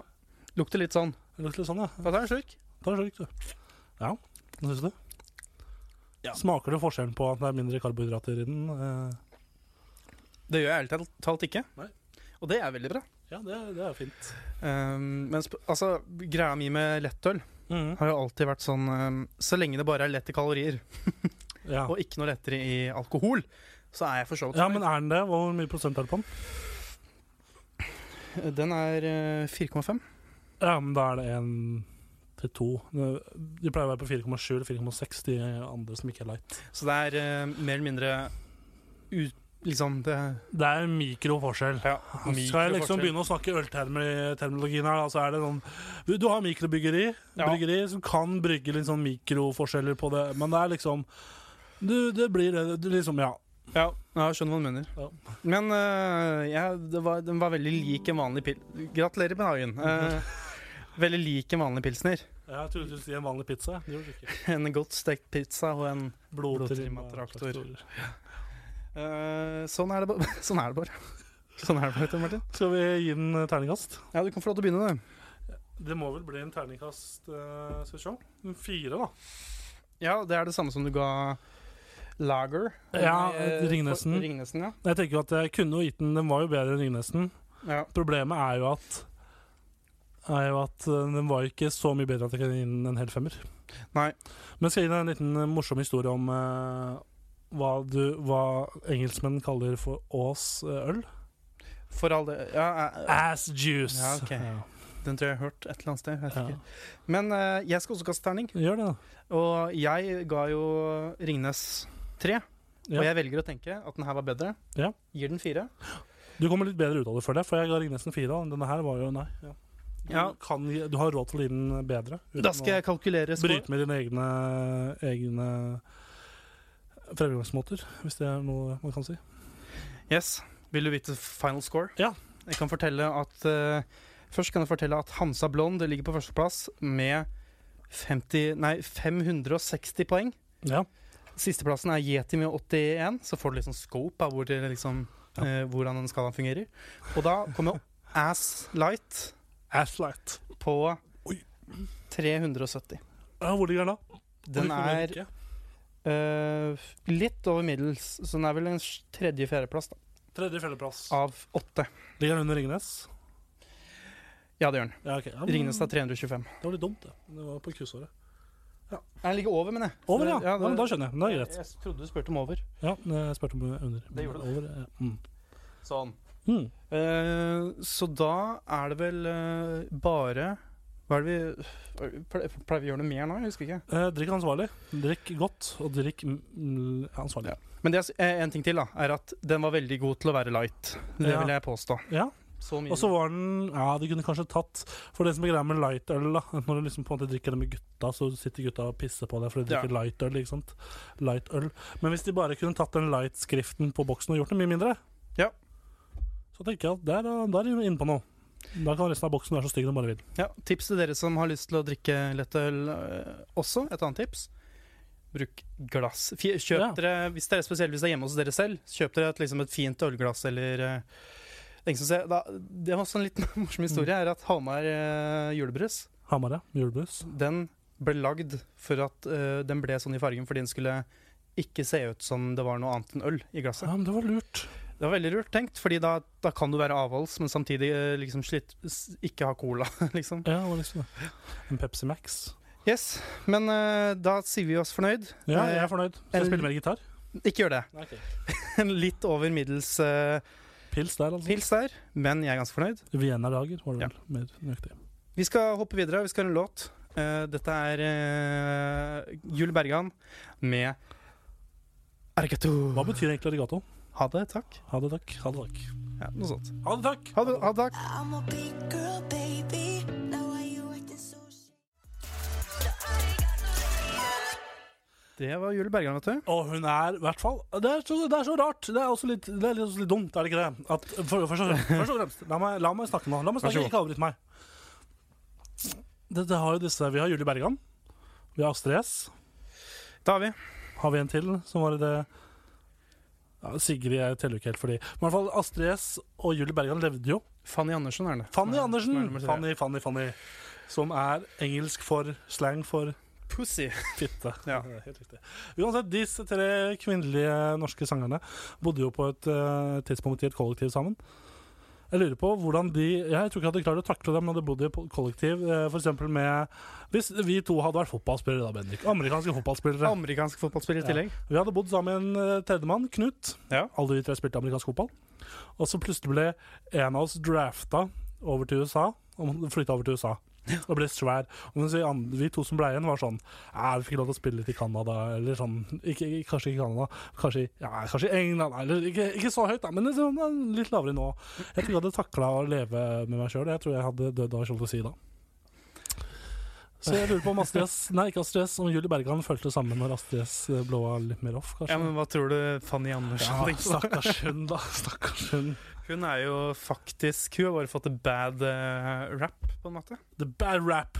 Speaker 5: Lukter litt sånn.
Speaker 4: Det lukter litt sånn, ja.
Speaker 5: Hva tar en slurk?
Speaker 4: Ta en slurk, du. Ja, hva syns du? Smaker du forskjellen på at det er mindre karbohydrater i den? Eh,
Speaker 5: Det gjør jeg ærlig talt- talt ikke.
Speaker 4: Nei.
Speaker 5: Og det er veldig bra.
Speaker 4: Ja, det, det er fint.
Speaker 5: Um, men sp- altså, greia mi med lettøl
Speaker 4: Mm.
Speaker 5: har jo alltid vært sånn um, Så lenge det bare er lett i kalorier,
Speaker 4: Ja.
Speaker 5: og ikke noe lettere i alkohol, så er jeg for så vidt
Speaker 4: ja, men er den det? Hvor mye prosent er det på den?
Speaker 5: fornøyd. Den er eh, 4,5.
Speaker 4: Ja, men da er det en til to. De pleier å være på 4,7 eller 4,6, de andre som ikke er light.
Speaker 5: Så det er eh, mer eller mindre u liksom det
Speaker 4: Det er mikroforskjell.
Speaker 5: ja,
Speaker 4: Skal jeg liksom begynne å snakke ølterminologien her, da, så er det sånn Du, du har mikrobyggeri
Speaker 5: Ja.
Speaker 4: bryggeri, som kan brygge litt sånn mikroforskjeller på det, men det er liksom du, Det blir det, det liksom Ja.
Speaker 5: Ja, ja, jeg skjønner hva du mener.
Speaker 4: Ja.
Speaker 5: Men eh, jeg, det var, den var veldig lik en vanlig pil... Gratulerer med dagen.
Speaker 4: Mhm.
Speaker 5: Eh, veldig lik en vanlig pilsner.
Speaker 4: Jeg trodde du skulle si en vanlig pizza. Det gjorde du ikke.
Speaker 5: En godt stekt pizza og en
Speaker 4: Blodtrimma
Speaker 5: Blodtrimma traktor.
Speaker 4: traktor.
Speaker 5: Eh, sånn, er det ba sånn er det bare. Sånn er det bare, Tor Martin.
Speaker 4: Skal vi gi den eh, terningkast?
Speaker 5: Ja, du kan få lov til å begynne, du.
Speaker 4: Det må vel bli en terningkast eh, Skal vi se. En Fire, da.
Speaker 5: Ja, det er det samme som du ga Lager.
Speaker 4: Ja,
Speaker 5: Eh, for-
Speaker 4: Ringnesen.
Speaker 5: Ringnesen, ja.
Speaker 4: Jeg tenker jo at jeg kunne jo gitt den Den var jo bedre enn Ringnesen.
Speaker 5: ja.
Speaker 4: Problemet er jo at er jo at eh, den var ikke så mye bedre at jeg kunne gi den en hel femmer.
Speaker 5: Nei.
Speaker 4: Men jeg skal gi deg en liten eh, morsom historie om, eh, hva, du, hva engelskmenn kaller for eh, Ås-øl.
Speaker 5: For all det ja, jeg-
Speaker 4: Ass juice!
Speaker 5: Ja, ok.
Speaker 4: Ja.
Speaker 5: Den tror jeg jeg har hørt et eller annet sted. Jeg vet
Speaker 4: Ja.
Speaker 5: ikke. Men eh, jeg skal også kaste terning,
Speaker 4: Gjør det, da.
Speaker 5: og jeg ga jo Ringnes tre.
Speaker 4: Ja.
Speaker 5: Og jeg velger å tenke at den her var bedre.
Speaker 4: Ja.
Speaker 5: Gir den fire.
Speaker 4: Du kommer litt bedre ut av det, føler jeg, for jeg ga Ringnesen fire. og Denne her var jo nei. Ja. Du,
Speaker 5: Ja.
Speaker 4: kan, gi- du har råd til å gi den bedre. uten
Speaker 5: Da skal jeg kalkulere
Speaker 4: å
Speaker 5: score.
Speaker 4: bryte med dine egne, egne fremgangsmåter, hvis det er noe man kan si.
Speaker 5: Yes. Vil du vite final score?
Speaker 4: Ja.
Speaker 5: Jeg kan fortelle at eh, Først kan jeg fortelle at Hansa Blond ligger på førsteplass med 50, nei, 560 poeng.
Speaker 4: Ja.
Speaker 5: Sisteplassen er Yeti med 81, så får du liksom scope av hvor det liksom,
Speaker 4: Ja.
Speaker 5: eh, hvordan den skalaen fungerer. Og da kommer Ass Light
Speaker 4: Athlight.
Speaker 5: på
Speaker 4: Oi.
Speaker 5: 370.
Speaker 4: Ja, hvor ligger den da?
Speaker 5: Den
Speaker 4: Hvor ligger
Speaker 5: er
Speaker 4: den ikke?
Speaker 5: eh, litt over middels, så den er vel en s- tredje-fjerdeplass
Speaker 4: Tredje fjelleplass.
Speaker 5: av åtte.
Speaker 4: Ligger den under Ringnes?
Speaker 5: Ja, det gjør den.
Speaker 4: Ja, ok. Ja, men-
Speaker 5: Ringnes er 325.
Speaker 4: Det var litt dumt, det. Det var på kussåret.
Speaker 5: Nei, Den ligger over, mener jeg.
Speaker 4: Over, ja. ja,
Speaker 5: det-
Speaker 4: men da skjønner jeg. Det er greit.
Speaker 5: Jeg trodde du spurte om over.
Speaker 4: Ja, jeg spurte om under.
Speaker 5: Det gjorde
Speaker 4: Over, ja. mm.
Speaker 5: Sånn.
Speaker 4: Mm.
Speaker 5: Eh, så da er det vel eh, bare Hva er det vi ple- Pleier vi å gjøre noe mer nå? Jeg husker ikke.
Speaker 4: Eh, drikk ansvarlig. Drikk godt, og drikk mm, ja, ansvarlig.
Speaker 5: Men det, er s- eh, en ting til da er at den var veldig god til å være light. Det
Speaker 4: Ja.
Speaker 5: vil jeg påstå.
Speaker 4: Ja.
Speaker 5: Så mye.
Speaker 4: Og så var den Ja, du kunne kanskje tatt For det som er greia med lightøl, da at Når du liksom på en måte drikker det med gutta, så sitter gutta og pisser på deg fordi du
Speaker 5: Ja.
Speaker 4: drikker lightøl. ikke sant? Lightøl. Men hvis de bare kunne tatt den light-skriften på boksen og gjort det mye mindre,
Speaker 5: Ja.
Speaker 4: så tenker jeg at der, er- der er vi inne på noe. Da kan resten av boksen være så stygg den bare vil.
Speaker 5: Ja, tips til dere som har lyst til å drikke lettøl eh, også. Et annet tips. Bruk glass. Fi- Kjøp
Speaker 4: Ja.
Speaker 5: dere, hvis dere spesielt hvis det er hjemme hos dere selv, kjøp dere et, liksom et fint ølglass eller eh, det er ingen som ser- da, Det er også en liten morsom historie, er at Hamar eh, julebrus,
Speaker 4: Hamar, ja. Julebrus.
Speaker 5: den ble lagd for at eh, den ble sånn i fargen fordi den skulle ikke se ut som det var noe annet enn øl i glasset.
Speaker 4: Ja, men det var lurt.
Speaker 5: Det var veldig lurt tenkt, fordi da, da kan du være avholds, men samtidig eh, liksom slitt, s- ikke ha cola, liksom.
Speaker 4: Ja, det var liksom det. En Pepsi Max.
Speaker 5: Yes, men eh, da sier vi oss fornøyd.
Speaker 4: Ja,
Speaker 5: Eh,
Speaker 4: jeg er fornøyd. Skal jeg
Speaker 5: en-
Speaker 4: spille mer gitar?
Speaker 5: Ikke gjør det. En litt over middels eh,
Speaker 4: Pils der, altså.
Speaker 5: pils der, men jeg er ganske fornøyd.
Speaker 4: Wienerdager var
Speaker 5: Ja.
Speaker 4: det vel mer nøyaktig.
Speaker 5: Vi skal hoppe videre, vi skal høre en låt. Eh, dette er eh, Jul Bergan med Ergato.
Speaker 4: Hva betyr egentlig arigato?
Speaker 5: Ha det, takk.
Speaker 4: Ha det, takk. Ha det, takk.
Speaker 5: Ja, noe sånt.
Speaker 4: Ha det, takk.
Speaker 5: Ha det, ha det, takk.
Speaker 6: I'm a big girl, baby. Now why you acting so
Speaker 5: Det var Jul Bergan, vet du.
Speaker 4: Og hun er i hvert fall det er, så, det er så rart. Det er også litt, det er litt, også litt dumt, er det ikke det? At, for, først og fremst, først og fremst la, meg, la meg snakke nå. La meg
Speaker 5: Vær så
Speaker 4: snakke,
Speaker 5: god.
Speaker 4: Ikke avbryt meg. Det, det har jo disse, vi har Julie Bergan. Vi har Astrid S.
Speaker 5: Da har vi.
Speaker 4: Har vi en til som var i det ja, Sigrid jeg teller jo ikke helt for de. Men i hvert fall Astrid S og Julie Bergan levde jo.
Speaker 5: Fanny Andersen er det.
Speaker 4: Fanny
Speaker 5: Som er- som er
Speaker 4: Andersen!
Speaker 5: nummer tre.
Speaker 4: Fanny, Fanny, Fanny. Som er engelsk for slang for
Speaker 5: Pussy.
Speaker 4: Fitte.
Speaker 5: Ja.
Speaker 4: Det er Helt riktig. Uansett, disse tre kvinnelige norske sangerne bodde jo på et eh, tidspunkt i et kollektiv sammen. Jeg lurer på hvordan de Jeg tror ikke jeg hadde klart å takle dem om jeg hadde bodd i et po- kollektiv eh, for eksempel med Hvis vi to hadde vært fotballspillere, da, Bendik. Amerikanske fotballspillere.
Speaker 5: Amerikansk fotballspiller i
Speaker 4: Ja.
Speaker 5: tillegg.
Speaker 4: Vi hadde bodd sammen med en eh, tredjemann, Knut.
Speaker 5: Ja.
Speaker 4: Alle vi tre spilte amerikansk fotball. Og så plutselig ble en av oss drafta over til USA, og flytta over til USA. Og ble svær. Og mens vi, andre, vi to som ble igjen, var sånn «Nei, Vi fikk lov til å spille litt i Canada, eller sånn ikke, ikke- Kanskje ikke i Canada, kanskje, i- ja, kanskje i England eller, ikke, ikke så høyt, da, men liksom, litt lavere nå. Jeg tror jeg hadde takla å leve med meg sjøl. Jeg tror jeg hadde dødd av skjoldet da. Så jeg lurer på om Astrid S Nei, ikke Astrid S, om Julie Bergan følte sammen når Astrid S eh, blå var litt mer off, kanskje.
Speaker 5: Ja, men hva tror du Fanny Andersen
Speaker 4: Ja,
Speaker 5: tenkte?
Speaker 4: stakkars hun, da. Stakkars hun.
Speaker 5: Hun er jo faktisk Hun har bare fått en bad eh, rap, på en måte.
Speaker 4: The bad rap.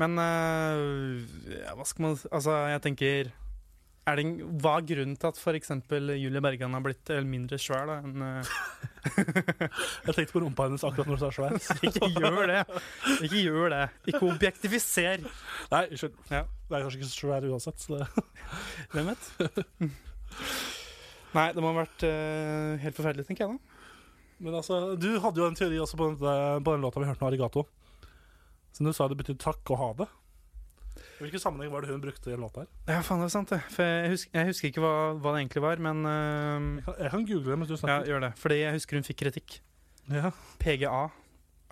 Speaker 5: Men eh, ja, hva skal man Altså, jeg tenker er det, en- Hva er grunnen til at f.eks. Julie Bergan har blitt eh, mindre svær da, enn eh,
Speaker 4: Jeg tenkte på rumpa hennes akkurat når hun sa svær.
Speaker 5: Ikke gjør det! Ikke gjør det. Ikke objektifiser.
Speaker 4: Nei, unnskyld.
Speaker 5: Ja.
Speaker 4: Det er kanskje ikke så svær uansett. Så det.
Speaker 5: Hvem vet? Nei, det må ha vært eh, helt forferdelig, tenker jeg da.
Speaker 4: Men altså, du hadde jo en teori også eh, på den, på den låta vi hørte nå, Arigato. Som du sa det betyr takk og ha det. Hvilken sammenheng var det hun brukte i den låta her?
Speaker 5: Ja, faen, det er sant, det. For jeg husker, jeg husker ikke hva, hva det egentlig var, men
Speaker 4: Jeg
Speaker 5: eh,
Speaker 4: kan, jeg kan google det mens du
Speaker 5: Ja,
Speaker 4: snakker.
Speaker 5: gjør det. Fordi jeg husker hun fikk kritikk.
Speaker 4: Ja.
Speaker 5: PGA.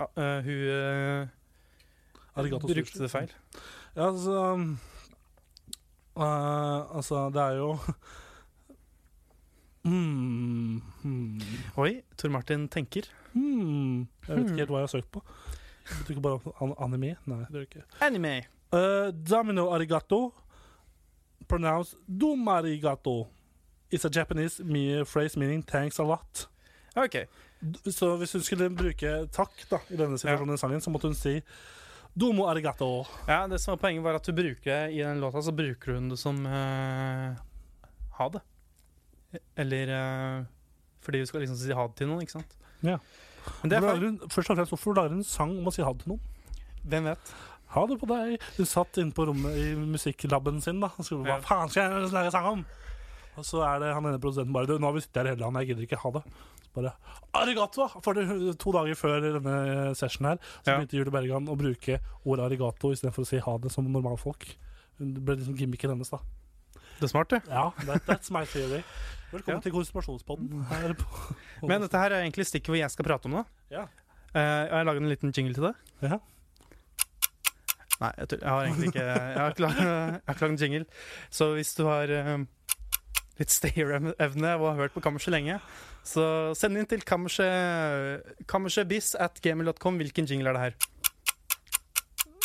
Speaker 5: Ah, eh, hun eh,
Speaker 4: Arigato
Speaker 5: brukte
Speaker 4: sushi.
Speaker 5: det feil.
Speaker 4: Ja, altså um, eh, Altså, det er jo mm, mm,
Speaker 5: Oi, Tor Martin tenker.
Speaker 4: mm. Jeg vet ikke helt hva jeg har søkt på. Jeg trykker bare an anime. Nei, det gjør jeg ikke.
Speaker 5: Anime.
Speaker 4: Eh, Domino arigato, pronounced domarigato, is a Japanese me phrase meaning thanks a lot.
Speaker 5: Ja, OK.
Speaker 4: D- Så hvis hun skulle bruke takk da, i denne situasjonen i sangen, så måtte hun si domo arigato.
Speaker 5: Ja, det som var Poenget var at du bruker det i den låta så bruker hun det som eh, ha det. Eller eh, fordi du skal liksom si ha det til noen, ikke sant?
Speaker 4: Ja.
Speaker 5: Men det er
Speaker 4: Hvorfor
Speaker 5: feil.
Speaker 4: lager hun, først og fremst, hvorfor lager hun en sang om å si ha det til noen?
Speaker 5: Hvem vet?
Speaker 4: Ha det på deg. Hun satt inne på rommet i musikklaben sin da, og skulle
Speaker 5: Ja.
Speaker 4: hva faen skal jeg lage sang om? Og så er det han ene produsenten bare, du, nå har vi sittet her hele dagen, jeg gidder ikke ha det. Så bare, arigato! For det, to dager før denne sessionen her, så
Speaker 5: Ja.
Speaker 4: begynte Julie Bergan å bruke ordet arigato istedenfor å si ha det som normalfolk. Det ble liksom gimmicken hennes, da.
Speaker 5: Det er smart, det.
Speaker 4: Ja, that, that's my theory.
Speaker 5: Ja.
Speaker 4: Velkommen til konsumasjonspodden. Her på.
Speaker 5: Men dette her er egentlig stikket hvor jeg skal prate om det.
Speaker 4: Ja.
Speaker 5: Eh, og jeg lager en liten jingle til det.
Speaker 4: Ja.
Speaker 5: Nei, jeg, tuller. jeg har egentlig ikke Jeg har ikke lagd, jeg har ikke lagd en jingle. Så hvis du har eh, litt stayer-evne og har hørt på Kammerset lenge, så send inn til kammerset- kammersetbiss at gmail.com hvilken jingle er det her.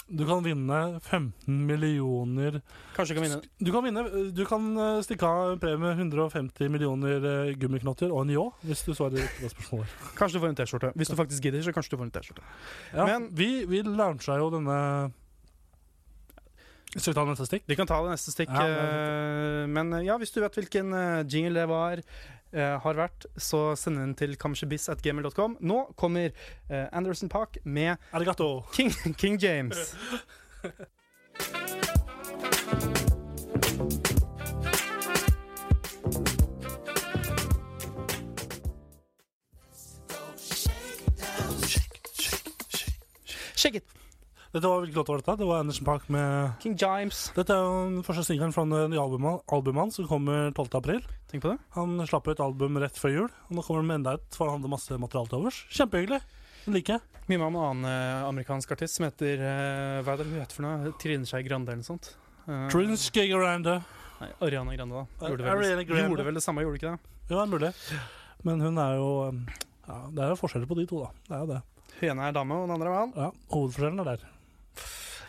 Speaker 4: Du kan vinne 15 millioner
Speaker 5: Kanskje du kan vinne
Speaker 4: Du kan vinne. Du kan eh, stikke av en premie med 150 millioner eh, gummiknotter og en ljå, hvis du svarer riktig på spørsmålet.
Speaker 5: Kanskje du får en T-skorte. Hvis du faktisk gidder, så kanskje du får en T-skjorte.
Speaker 4: Ja, Men
Speaker 5: Men-
Speaker 4: vi, vi launcha jo denne Skal vi ta neste stikk?
Speaker 5: Vi kan ta det neste stikk.
Speaker 4: Ja, det
Speaker 5: eh, men eh, ja, hvis du vet hvilken eh, jingle det var, eh, har vært, så send den til kammersetbiss at gmail.com. Nå kommer eh, Anderson Park med
Speaker 4: Arigato.
Speaker 5: King, King James. Shake it!
Speaker 4: Dette var hvilken låt var dette? Det var Andersen Park med
Speaker 5: King James.
Speaker 4: Dette er jo den første singelen fra det nye albumet, albumet hans, som kommer 12. april.
Speaker 5: Tenk på det.
Speaker 4: Han slapp ut album rett før jul, og nå kommer han med enda et, for han hadde masse materiale til overs. Kjempehyggelig. Den liker jeg.
Speaker 5: Minner meg om en annen eh, amerikansk artist som heter eh, Hva er det hun heter for noe? Trine Skei Grande eller noe sånt. Eh,
Speaker 4: Trine Skiggerande.
Speaker 5: Nei, Ariana Grande, da.
Speaker 4: Eh,
Speaker 5: Gjorde vel,
Speaker 4: Ariana Grande.
Speaker 5: gjorde vel det samme, gjorde hun ikke det?
Speaker 4: Ja, det er mulig. Men hun er jo um, ja, Det er jo forskjeller på de to, da. Det er jo det.
Speaker 5: Hun ene er dame, og den andre er mann.
Speaker 4: Ja, Hovedforskjellen er der.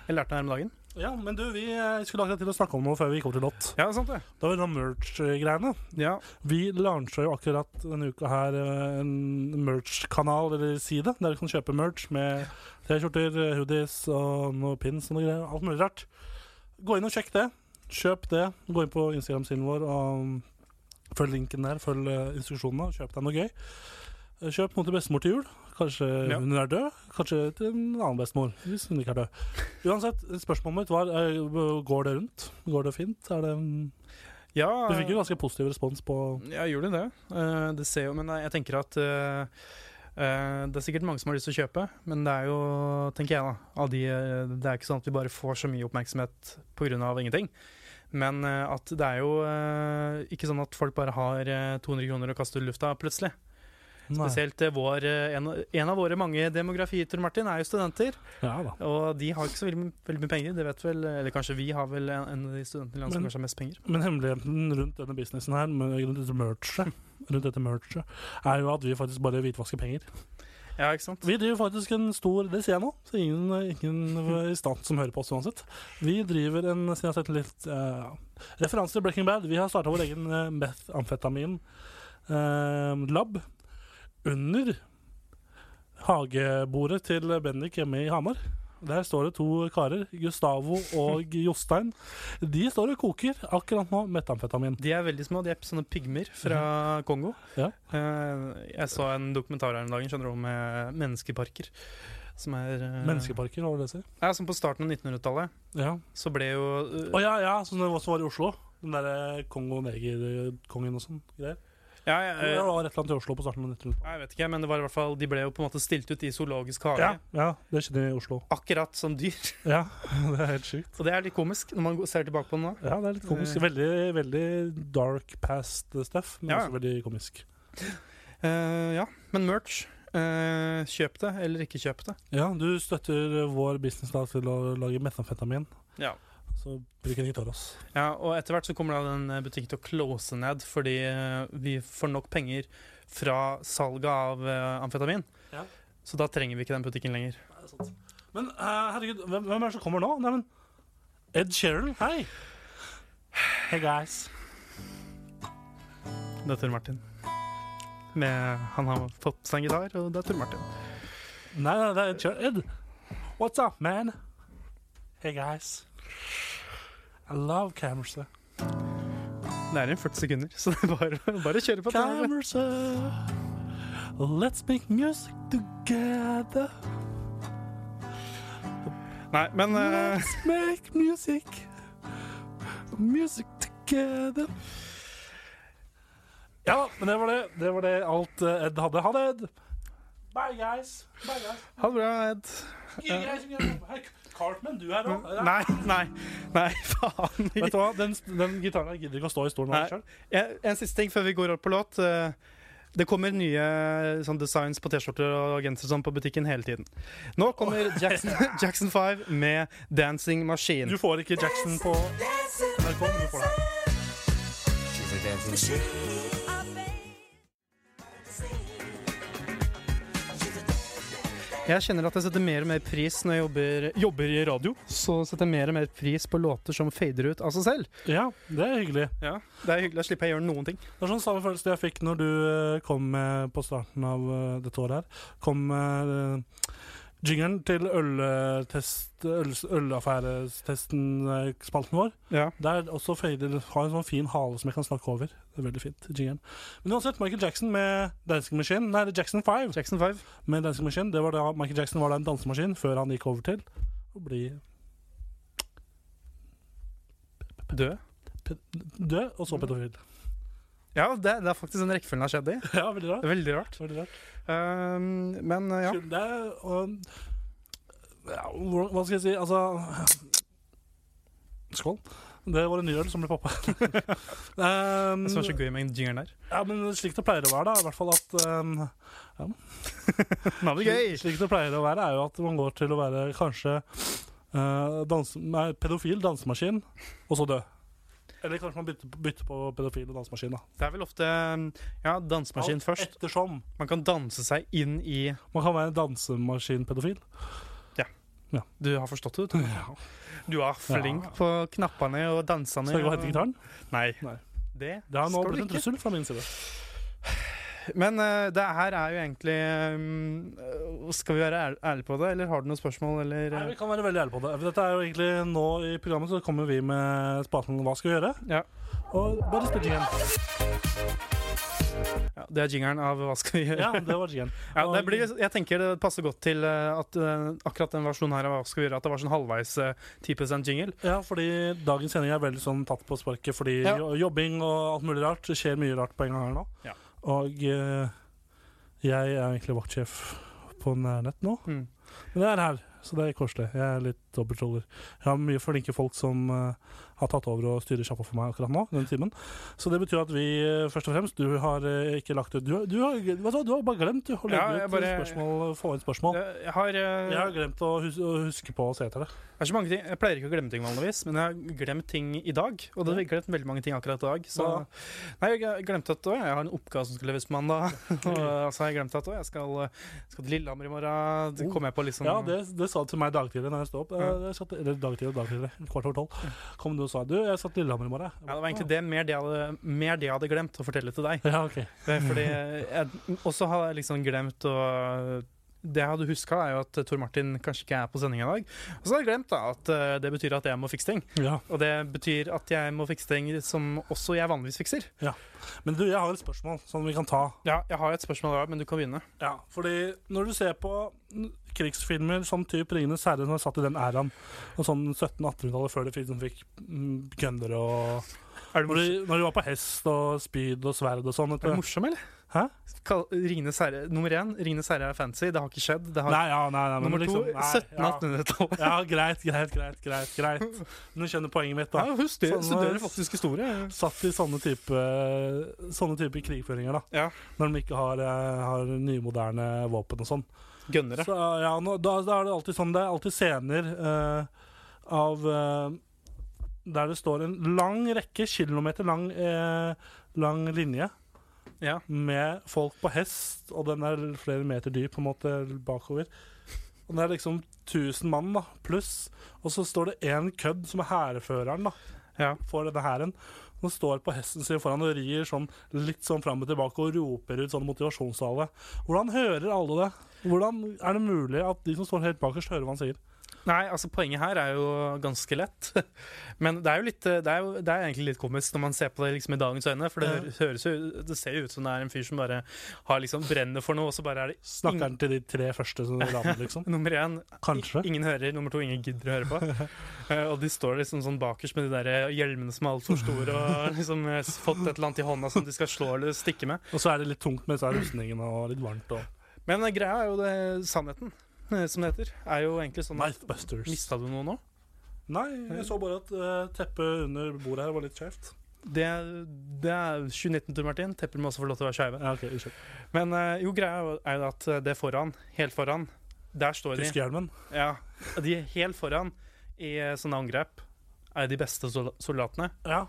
Speaker 5: Jeg lærte det her om dagen.
Speaker 4: Ja, men du, vi eh, skulle akkurat til å snakke om noe før vi gikk over til låt.
Speaker 5: Ja, sant det.
Speaker 4: Det var jo noen merch-greiene.
Speaker 5: Ja,
Speaker 4: Vi lansa jo akkurat denne uka her eh, en merch-kanal, eller side, der du kan kjøpe merch med T-skjorter, eh, hoodies og noe pins og noe greier. Alt mulig rart. Gå inn og sjekk det. Kjøp det. Gå inn på Instagram-siden vår og mm, følg linken der. Følg eh, instruksjonene og kjøp deg noe gøy. Eh, Kjøp noe til bestemor til jul. Kanskje
Speaker 5: Ja.
Speaker 4: hun er død. Kanskje til en annen bestemor, hvis hun ikke er død. Uansett, spørsmålet mitt var eh, går det rundt? Går det fint? Er det mm,
Speaker 5: ja
Speaker 4: Du fikk jo ganske positiv respons på
Speaker 5: ja, gjorde hun det? Eh, det ser jo, men jeg tenker at eh, eh, det er sikkert mange som har lyst til å kjøpe, men det er jo, tenker jeg da, av de, eh, det er ikke sånn at vi bare får så mye oppmerksomhet pga. ingenting. Men eh, at det er jo eh, ikke sånn at folk bare har eh, 200 kroner og kaster i lufta plutselig.
Speaker 4: Nei.
Speaker 5: Spesielt eh, vår, eh, en, en av våre mange demografier, Tor Martin, er jo studenter.
Speaker 4: Ja da.
Speaker 5: Og de har ikke så veldig, veldig mye penger, det vet vel Eller kanskje vi har vel en, en av de studentene i landet som
Speaker 4: Men-
Speaker 5: kanskje har mest penger.
Speaker 4: Men hemmeligheten rundt denne businessen her, med- rundt dette merchet, rundt dette merchet, er jo at vi faktisk bare hvitvasker penger.
Speaker 5: Ja, ikke sant?
Speaker 4: Vi driver faktisk en stor Det sier jeg nå, så ingen, ingen i stand som hører på oss uansett. Vi driver en siden jeg har sett litt eh, referanse til Breaking Bad. Vi har starta vår egen uh, methamfetamin-lab under hagebordet til Bendik hjemme i Hamar. Der står det to karer, Gustavo og Jostein. De står og koker akkurat nå metamfetamin.
Speaker 5: De er veldig små. De er sånne pygmer fra Kongo.
Speaker 4: Mhm. Ja.
Speaker 5: Eh, jeg så en dokumentar her om dagen skjønner du, om eh, menneskeparker. Som er eh,
Speaker 4: Menneskeparker, hva vil det si?
Speaker 5: Ja, som på starten av 1900-tallet.
Speaker 4: Ja.
Speaker 5: Så ble jo eh,
Speaker 4: eh, Å ja, ja, som det også var i Oslo. Den derre Kongo-negerkongen og sånn. greier.
Speaker 5: Ja, jeg,
Speaker 4: Det var rett land til Oslo på starten av 1900-tallet.
Speaker 5: jeg vet ikke, men det var i hvert fall, de ble jo på en måte stilt ut i zoologisk hage.
Speaker 4: Ja, ja, det skjedde i Oslo.
Speaker 5: Akkurat som dyr.
Speaker 4: Ja, det er helt sjukt.
Speaker 5: Og det er litt komisk når man ser tilbake på den nå.
Speaker 4: Ja, det er litt komisk. Veldig, veldig dark past stuff, men
Speaker 5: Ja.
Speaker 4: også veldig komisk.
Speaker 5: Eh, ja, men merch. eh, kjøp det, eller ikke kjøp det.
Speaker 4: Ja, du støtter vår business da til å lage metamfetamin,
Speaker 5: Ja.
Speaker 4: så bruk en gitar oss.
Speaker 5: Ja, og etter hvert så kommer da den eh, butikken til å close ned fordi eh, vi får nok penger fra salget av eh, amfetamin.
Speaker 4: Ja.
Speaker 5: Så da trenger vi ikke den butikken lenger.
Speaker 4: Men eh, herregud, hvem, hvem er det som kommer nå? Nei, men Ed Sheeran, hei! Hey guys.
Speaker 5: Det er Tor Martin. Med, han har fått seg en gitar, og det er Tor Martin.
Speaker 4: Nei, nei, det er Ed Sheeran. Ed, what's up, man? Hey guys. I love cameras.
Speaker 5: Det er igjen 40 sekunder, så det er bare, bare å kjøre på.
Speaker 4: Cameras. Let's make music together.
Speaker 5: Nei, men eh,
Speaker 4: Let's make music. Music together. Ja, men det var det. Det var det alt eh, Ed hadde. Ha det, Ed. Bye, guys. Bye, guys.
Speaker 5: ha det bra, Ed.
Speaker 4: Ikke guys, ikke guys. Hei, Cartman, du er òg.
Speaker 5: Nei, nei, nei, faen.
Speaker 4: Vet du hva, den, den gitaren her gidder ikke å stå i stolen
Speaker 5: Nei.
Speaker 4: av seg selv.
Speaker 5: En, en siste ting før vi går opp på låt. Eh, Det kommer nye sånn, designs på T-skjorter og genser sånn, på butikken hele tiden. Nå kommer Jackson, Jackson 5 med 'Dancing Machine'.
Speaker 4: Du får ikke Jackson på NRK, men du får det her.
Speaker 5: Jeg kjenner at jeg setter mer og mer pris når jeg jobber, jobber i radio. Så setter jeg mer og mer pris på låter som fader ut av seg selv.
Speaker 4: Ja, det er hyggelig.
Speaker 5: Det er hyggelig å slippe å gjøre noen ting.
Speaker 4: Det er sånn samme følelse jeg fikk når du eh, kom med på starten av eh, dette året her. Kom med eh, jingeren til øltest, øl, ølaffærestesten-spalten vår.
Speaker 5: Ja.
Speaker 4: Der også fader har en sånn fin hale som jeg kan snakke over. Det er veldig fint, jingeren. Men uansett, Michael Jackson med Dancing Machine Nei, det er Jackson 5
Speaker 5: Jackson 5.
Speaker 4: med Dancing Machine. Det var da Michael Jackson var da en dansemaskin før han gikk over til å bli
Speaker 5: Død.
Speaker 4: død, og så pedofil.
Speaker 5: Ja, det, det er faktisk den rekkefølgen har skjedd i.
Speaker 4: Ja, veldig
Speaker 5: Det
Speaker 4: rart.
Speaker 5: er veldig rart.
Speaker 4: Veldig rart.
Speaker 5: Um, men eh, ja.
Speaker 4: Skulle det og, ja, hvor- Hva skal jeg si? Altså Skål. Det var en ny øl som ble poppa. um,
Speaker 5: Det som er så gøy med den jingeren der.
Speaker 4: ja, men slik det pleier å være, da. I hvert fall at um,
Speaker 5: Nå er det
Speaker 4: slik,
Speaker 5: gøy!
Speaker 4: slik det pleier å være, er jo at man går til å være kanskje eh, dans, nei, pedofil dansemaskin, og så dø. Eller kanskje man bytter, bytter på pedofil og dansemaskin. da
Speaker 5: Det er vel ofte um, ja, dansemaskin
Speaker 4: Alt
Speaker 5: først.
Speaker 4: Ettersom
Speaker 5: Man kan danse seg inn i
Speaker 4: man kan være dansemaskinpedofil.
Speaker 5: Du har forstått det, du. Du er flink på knappene og dansene.
Speaker 4: Skal jeg gå og
Speaker 5: og-
Speaker 4: hente gitaren?
Speaker 5: Nei.
Speaker 4: Nei.
Speaker 5: Det,
Speaker 4: Det har nå
Speaker 5: skal
Speaker 4: blitt
Speaker 5: du
Speaker 4: en
Speaker 5: ikke.
Speaker 4: trussel fra min side.
Speaker 5: Men eh, det her er jo egentlig um, eh, Skal vi være ær- ærlige på det, eller har du noen spørsmål, eller
Speaker 4: Nei, vi
Speaker 5: eh,
Speaker 4: kan være veldig ærlige på det. Dette er jo egentlig Nå i programmet så kommer vi med spalten Hva skal vi gjøre?
Speaker 5: Ja.
Speaker 4: Og bare spill igjen.
Speaker 5: ja, Det er jingeren av Hva skal vi gjøre?
Speaker 4: Ja, det var igjen.
Speaker 5: Ja, det blir, jeg tenker det passer godt til eh, at eh, akkurat den versjonen her av Hva skal vi gjøre, at det var sånn halvveis eh, 10 jingle.
Speaker 4: Ja, fordi dagens sending er veldig sånn tatt på sparket fordi
Speaker 5: Ja.
Speaker 4: jo- jobbing og alt mulig rart. Det skjer mye rart på en gang her nå.
Speaker 5: Ja.
Speaker 4: Og eh, jeg er egentlig vaktsjef på Nærnett nå.
Speaker 5: Mm.
Speaker 4: Men det er her, så det er koselig. Jeg er litt dobbeltroller. Jeg har mye flinke folk som eh, har tatt over og styrer sjappa for meg akkurat nå. den timen. Så det betyr at vi eh, først og fremst Du har eh, ikke lagt ut Du, du, har, vet du, hva, du har bare glemt å legge
Speaker 5: Ja, jeg
Speaker 4: ut
Speaker 5: bare-
Speaker 4: spørsmål, få inn spørsmål.
Speaker 5: Jeg, jeg har eh,
Speaker 4: Jeg har glemt å hus- å huske på å se etter det.
Speaker 5: Det er så mange ting. Jeg pleier ikke å glemme ting vanligvis, men jeg har glemt ting i dag. Og det har glemt veldig mange ting akkurat i dag. Så
Speaker 4: Hva da?
Speaker 5: Nei, jeg glemte at å, jeg har en oppgave som skal leveres på mandag. Og eh, så har jeg glemt at å, jeg skal, eh, skal til Lillehammer i morgen. Det
Speaker 4: Oh.
Speaker 5: kom jeg på liksom
Speaker 4: Ja, det, det sa du til meg dagtidlig når jeg sto opp. Eh,
Speaker 5: Ja.
Speaker 4: Jeg satt, eller dagtidlig, dagtidlig, kvart over tolv. Kom du og sa du, jeg satt i Lillehammer i morgen.
Speaker 5: Ja, det var egentlig det mer det jeg hadde, mer det jeg hadde glemt å fortelle til deg.
Speaker 4: Ja, ok.
Speaker 5: Det er Fordi jeg også har jeg liksom glemt å det jeg hadde huska, er jo at Tor Martin kanskje ikke er på sending i dag. Og så har jeg glemt da at eh, det betyr at jeg må fikse ting.
Speaker 4: Ja.
Speaker 5: Og det betyr at jeg må fikse ting som også jeg vanligvis fikser.
Speaker 4: Men du, jeg har et spørsmål som vi kan ta.
Speaker 5: Ja, jeg har et spørsmål da, men du kan begynne.
Speaker 4: Ja, fordi når du ser på n- krigsfilmer som typ Ringenes herre, som er satt i den æraen, og sånn 1700-1800-tallet før det fikk, som fikk mm, gønnere og
Speaker 5: Er det
Speaker 4: Når de,
Speaker 5: morsom,
Speaker 4: når de var på hest og spyd og sverd og sånn. vet
Speaker 5: er det
Speaker 4: du.
Speaker 5: morsom eller?
Speaker 4: Hæ?
Speaker 5: Kall- Ringenes herre, nummer én, Ringenes herre er fancy. Det har ikke skjedd. Det har,
Speaker 4: Nei, ja, nei, nei, men
Speaker 5: nummer to,
Speaker 4: liksom, nei,
Speaker 5: 1700-1800-tallet.
Speaker 4: Ja. ja, greit, greit, greit. greit, greit. Men du skjønner poenget mitt,
Speaker 5: Ja,
Speaker 4: da.
Speaker 5: hun studerer,
Speaker 4: Sånn,
Speaker 5: studerer
Speaker 4: eh,
Speaker 5: faktisk historie.
Speaker 4: Satt i sånne type, sånne type krigføringer, da.
Speaker 5: Ja.
Speaker 4: Når de ikke har, eh, har nymoderne våpen og sånn.
Speaker 5: Gønnere.
Speaker 4: Så, ja, nå, da, da er det alltid sånn Det er alltid scener eh, av eh, Der det står en lang rekke, kilometer lang, eh, lang linje
Speaker 5: Ja.
Speaker 4: med folk på hest, og den er flere meter dyp på en måte bakover. Og det er liksom 1000 mann da, pluss, og så står det én kødd som er hærføreren da,
Speaker 5: Ja.
Speaker 4: for denne hæren. Som står på hesten sin foran og rir sånn litt sånn fram og tilbake og roper ut sånn motivasjonstale. Hvordan hører alle det? Hvordan er det mulig at de som står helt bakerst, hører hva han sier?
Speaker 5: Nei, altså poenget her er jo ganske lett. Men det er jo litt eh, Det er, jo, det er egentlig litt komisk når man ser på det liksom i dagens øyne. For det,
Speaker 4: Ja.
Speaker 5: høres- høres jo, det ser jo ut som det er en fyr som bare har liksom brenner for noe, og så bare er det
Speaker 4: Snakker han til de tre første som rammer, liksom?
Speaker 5: nummer én
Speaker 4: Kanskje.
Speaker 5: Ingen hører, nummer to ingen gidder å høre på. Eh, og de står liksom sånn bakerst med de der hjelmene som er altfor store, og liksom eh, fått et eller annet i hånda som de skal slå eller stikke med.
Speaker 4: Og så er det litt tungt med disse rustningene og litt varmt og
Speaker 5: Men eh, greia er jo det sannheten, eh, som det heter. Er jo egentlig sånn at
Speaker 4: Mythbusters.
Speaker 5: Mista du noe nå?
Speaker 4: Nei, jeg så bare at eh, teppet under bordet her var litt skjevt.
Speaker 5: Det, det er 2019 til Martin. Tepper må også få lov til å være skeive.
Speaker 4: Ja, ok, unnskyld.
Speaker 5: Men eh, jo, greia er jo- er jo at eh, det foran, helt foran, der står de.
Speaker 4: Tyskehjelmen.
Speaker 5: Ja, de er helt foran i eh, sånne angrep er de beste sol- soldatene.
Speaker 4: Ja.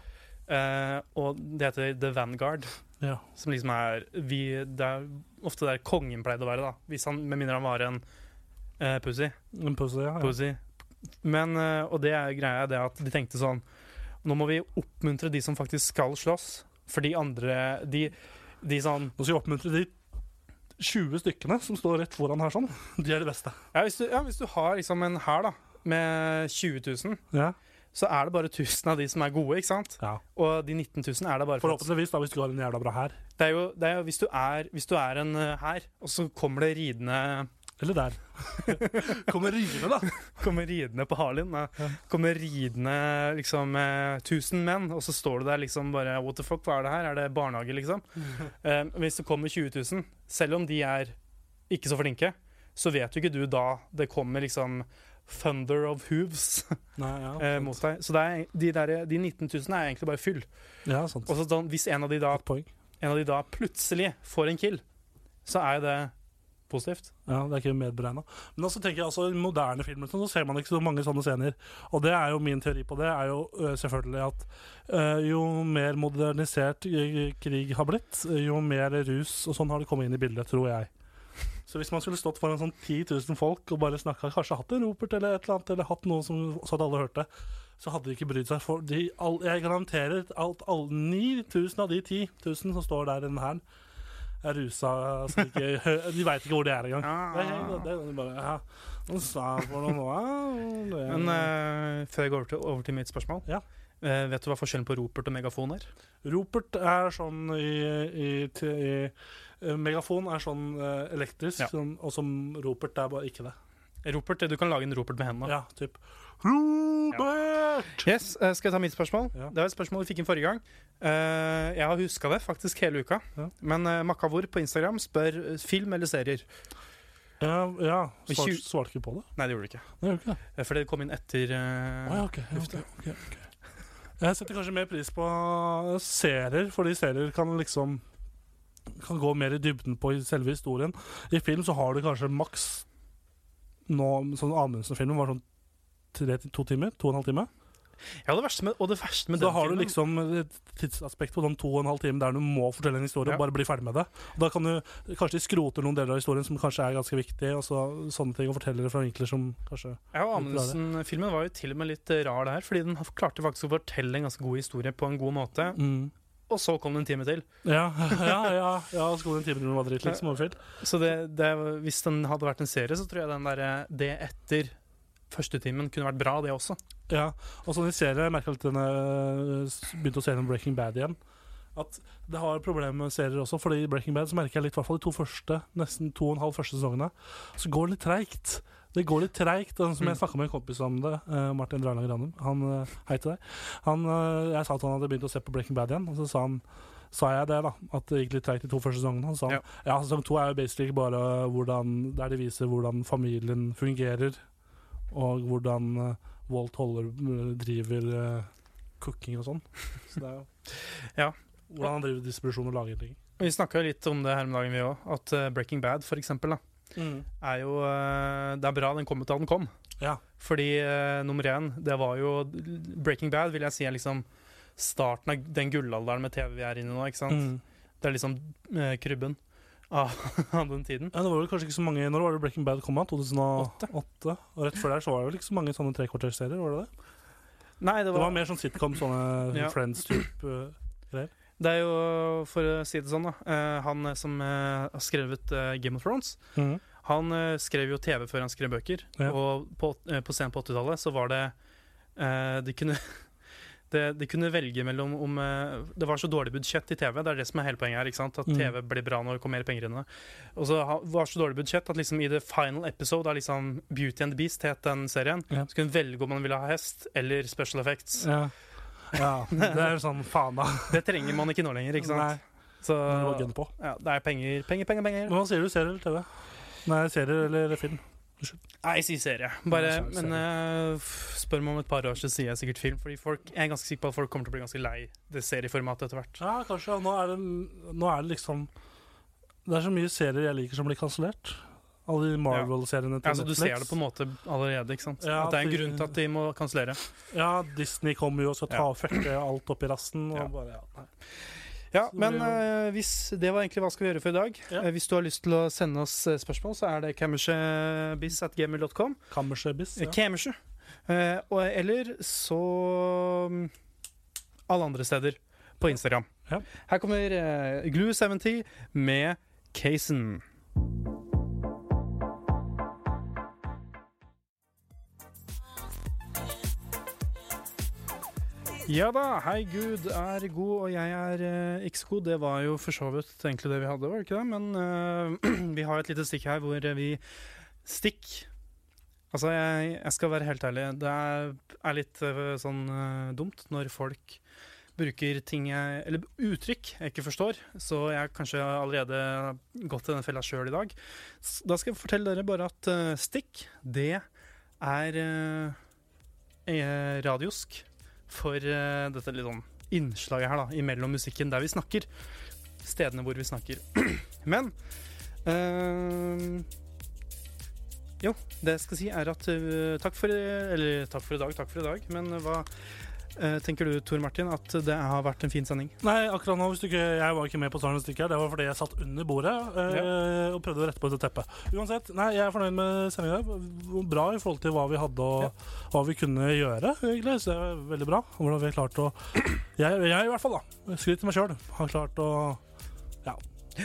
Speaker 5: Eh, og det heter The Vanguard,
Speaker 4: Ja.
Speaker 5: som liksom er vi, Det er ofte der kongen pleide å være, da. Hvis han, med mindre han var en eh, pussy.
Speaker 4: En pussy, ja, ja.
Speaker 5: pussy. Men, eh, og det er greia er det at de tenkte sånn Nå må vi oppmuntre de som faktisk skal slåss, for de andre De, de sånn
Speaker 4: Nå skal jeg oppmuntre de 20 stykkene som står rett foran her sånn. De er de beste.
Speaker 5: Ja, hvis du, ja, hvis du har liksom en hær da, med 20 000,
Speaker 4: Ja.
Speaker 5: så er det bare 1000 av de som er gode, ikke sant?
Speaker 4: Ja.
Speaker 5: Og de 19 000 er det bare for at
Speaker 4: Forhåpentligvis, da, hvis du har en jævla bra hær.
Speaker 5: det er jo, det er jo hvis, du er, hvis du er en eh, hær, og så kommer det ridende
Speaker 4: Eller der. Kommer rygene, da.
Speaker 5: Kommer ridende på Harlin. da. Kommer ridende liksom eh, 1000 menn, og så står du der liksom bare What the fuck, hva er det her? Er det barnehage, liksom? Eh, hvis det kommer 20 000, selv om de er ikke så flinke, så vet jo ikke du da det kommer liksom Thunder of hooves.
Speaker 4: Nei, ja,
Speaker 5: eh, mot deg. Så det er, de, der, de 19 000 er egentlig bare fyll.
Speaker 4: ja, sant.
Speaker 5: Og så sånn, hvis en av, de da,
Speaker 4: Et poeng.
Speaker 5: en av de da plutselig får en kill, så er jo det positivt.
Speaker 4: Ja, det er ikke medberegna. Men også tenker jeg altså, i moderne filmer sånn, så ser man ikke så mange sånne scener. Og det er jo min teori på det, er jo øh, selvfølgelig at øh, jo mer modernisert øh, krig har blitt, øh, jo mer rus og sånn har det kommet inn i bildet, tror jeg. Så hvis man skulle stått foran sånn 10 000 folk og bare snakka, kanskje hatt en ropert eller et eller annet, eller hatt noe som så at alle hørte, så hadde de ikke brydd seg. For de, all, jeg garanterer at alle 9000 av de 10 000 som står der i den hæren, er rusa. Så de ikke hø- de veit ikke hvor de er engang. Det er helt- det er bare, ja. Nå sa jeg for noe nå, ja, det-
Speaker 5: Men eh, før jeg går over til, over til mitt spørsmål
Speaker 4: Ja.
Speaker 5: eh, Vet du hva forskjellen på ropert og megafon er?
Speaker 4: Ropert er sånn i, i, til- i eh, Megafon er sånn eh, elektrisk,
Speaker 5: Ja.
Speaker 4: sånn, og som ropert er bare ikke det.
Speaker 5: Ropert, Du kan lage en ropert med hendene.
Speaker 4: Ja, typ Ropert!
Speaker 5: Yes, eh, Skal jeg ta mitt spørsmål?
Speaker 4: Ja.
Speaker 5: Det var et spørsmål vi fikk inn forrige gang. Eh, jeg har huska det faktisk hele uka.
Speaker 4: Ja.
Speaker 5: Men uh, Makkavor på Instagram spør eh, film eller serier.
Speaker 4: Ja, ja.
Speaker 5: Men
Speaker 4: Svar,
Speaker 5: tjue-
Speaker 4: svarte ikke på det?
Speaker 5: Nei, det gjorde du ikke.
Speaker 4: Nei, gjorde ikke det.
Speaker 5: Eh, For det kom inn etter eh,
Speaker 4: Å ja, ok, ja, ok, ok, ok. Jeg setter kanskje mer pris på serier, fordi serier kan liksom kan gå mer i dybden på i selve historien. I film så har du kanskje maks nå, sånn Amundsen-filmen var sånn tre til to timer, to og en halv time.
Speaker 5: Ja, det verste med, og det verste med
Speaker 4: da
Speaker 5: den
Speaker 4: har
Speaker 5: filmen-
Speaker 4: du liksom et tidsaspekt på sånn to og en halv time der du må fortelle en historie
Speaker 5: Ja.
Speaker 4: og bare bli ferdig med det. Da kan du Kanskje de skroter noen deler av historien som kanskje er ganske viktig, og så sånne ting, og forteller det fra vinkler som kanskje
Speaker 5: Ja, og Amundsen-filmen var jo til og med litt eh, rar der, fordi den klarte faktisk å fortelle en ganske god historie på en god måte,
Speaker 4: mm.
Speaker 5: og så kom det en time til.
Speaker 4: Ja, ja, ja. ja og så kom det en time til den var dritt, liksom. Overfylt.
Speaker 5: Så det, det, hvis den hadde vært en serie, så tror jeg den der, eh, det etter første timen kunne vært bra, det også.
Speaker 4: Ja, og sånn i serien, jeg merket at den eh, s- begynte å se gjennom Breaking Bad igjen. At det har problemer med serier også, Fordi i Breaking Bad så merker jeg litt, i hvert fall de to første, nesten to og en halv første sesongene, så går det litt treigt. Det går litt treigt. og Som
Speaker 5: Mm.
Speaker 4: jeg snakka med en kompis om det, eh, Martin Drarlang Ranum. Han, eh, hei til deg. Han, eh, jeg sa at han hadde begynt å se på Breaking Bad igjen, og så sa han Sa jeg det, da? At det gikk litt treigt de to første sesongene? Han sa
Speaker 5: Ja.
Speaker 4: ja. ja, sesong to er jo basically bare hvordan, der de viser hvordan familien fungerer, og hvordan eh, Walt holder, driver eh, cooking og sånn. Så det er jo
Speaker 5: Ja.
Speaker 4: Hvordan han driver distribusjon og lagring.
Speaker 5: Vi snakka litt om det her om dagen, vi òg. At eh, Breaking Bad, for eksempel, da, er jo eh, Det er bra den kom ut da den kom.
Speaker 4: Ja.
Speaker 5: Fordi eh, nummer én, det var jo Breaking Bad, vil jeg si, er liksom starten av den gullalderen med TV vi er inne i nå. ikke sant?
Speaker 4: Mm.
Speaker 5: Det er liksom eh, krybben av, av den tiden.
Speaker 4: Ja, det var vel kanskje ikke så mange Når var det Breaking Bad kom av? 2008? Og rett før der så var det vel ikke så mange sånne trekvarterserier? Var det det?
Speaker 5: Nei, det
Speaker 4: Det
Speaker 5: var,
Speaker 4: var mer sånn sitcom, sånne
Speaker 5: Ja.
Speaker 4: Friends-type eh.
Speaker 5: det er jo, for å si det sånn, da eh, han som eh, har skrevet eh, Game of Thrones, han eh, skrev jo TV før han skrev bøker.
Speaker 4: Ja.
Speaker 5: Og på, eh, på scenen på 80-tallet så var det eh, De kunne det, de kunne velge mellom om eh, Det var så dårlig budsjett i TV. Det er det som er hele poenget her. ikke sant? At
Speaker 4: Mm.
Speaker 5: TV blir bra når det kommer mer penger inn i det. Og så ha- var det så dårlig budsjett at liksom i the final episode av liksom Beauty and the Beast het den serien,
Speaker 4: Ja.
Speaker 5: så kunne hun velge om man ville ha hest eller special effects.
Speaker 4: Ja. ja. Det er jo sånn faen, da.
Speaker 5: Det trenger man ikke nå lenger, ikke sant? Så
Speaker 4: Nei, det var gønn på.
Speaker 5: ja, det er penger, penger, penger. penger.
Speaker 4: Men hva sier du? Serie eller TV? Nei, serie eller film?
Speaker 5: Nei, jeg sier serie. Bare,
Speaker 4: Nei, jeg sier
Speaker 5: men eh, f- spør meg om et par år, så sier jeg sikkert film. Fordi folk, jeg er ganske sikker på at folk kommer til å bli ganske lei det serieformatet etter hvert.
Speaker 4: Ja, kanskje. Og nå er det, nå er det liksom Det er så mye serier jeg liker som blir kansellert. Alle de Marvel-seriene til
Speaker 5: Ja, så Altså, du ser det på en måte allerede, ikke sant?
Speaker 4: Ja,
Speaker 5: at det er en
Speaker 4: at de-
Speaker 5: grunn til at de må kansellere.
Speaker 4: Ja, Disney kommer jo og skal ta
Speaker 5: Ja.
Speaker 4: og fucke alt opp i rassen. Og
Speaker 5: Ja.
Speaker 4: bare, ja, nei.
Speaker 5: Ja,
Speaker 4: Så det
Speaker 5: men
Speaker 4: blir
Speaker 5: eh, hvis det var egentlig hva skal vi gjøre for i dag.
Speaker 4: Ja.
Speaker 5: Eh, hvis du har lyst til å sende oss eh, spørsmål, så er det kammersjebiz.gmil.com.
Speaker 4: Kammersjøbiss. Ja.
Speaker 5: Kammersje. Eh, og eller så mm, alle andre steder på Instagram.
Speaker 4: Ja.
Speaker 5: Her kommer eh, Glue70 med Cason. Ja da, hei Gud er god og jeg er eh, ikke så god. Det var jo for så vidt egentlig det vi hadde, var det ikke det? Men eh, vi har et lite stikk her hvor vi Stikk Altså, jeg, jeg skal være helt ærlig. Det er, er litt øh, sånn øh, dumt når folk bruker ting jeg Eller uttrykk jeg ikke forstår. Så jeg har kanskje allerede gått i den fella sjøl i dag. S- Da skal jeg fortelle dere bare at øh, stikk, det er øh, eh, radiosk for øh, dette litt sånn innslaget her, da, imellom musikken der vi snakker. Stedene hvor vi snakker. Men øh, det jeg skal si, er at øh, takk for Eller takk for i dag, takk for i dag. Men øh, hva øh, tenker du, Tor Martin, at det har vært en fin sending?
Speaker 4: Nei, akkurat nå, hvis du ikke, jeg var ikke med på starten av stykket her. Det var fordi jeg satt under bordet eh, og prøvde å rette på dette teppet. Uansett, nei, jeg er fornøyd med sendinga. Bra i forhold til hva vi hadde og hva vi kunne gjøre. egentlig, så det er veldig bra. Hvordan vi har klart å jeg, jeg i hvert fall, da. Skryt til meg sjøl. Har klart å ja,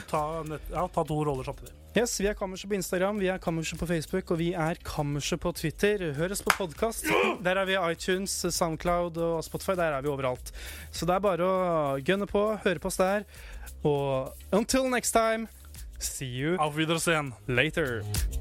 Speaker 4: ta, nett, ja, ta to roller samtidig.
Speaker 5: Yes, Vi er Kammerset på Instagram, vi er Kammerset på Facebook og vi er Kammerset på Twitter. Hør oss på podkast. Der er vi i iTunes, Soundcloud og Spotify. Der er vi overalt. Så det er bare å gønne på, høre på oss der. Og until next time, see you
Speaker 4: Auf Wiedersehen.
Speaker 5: later.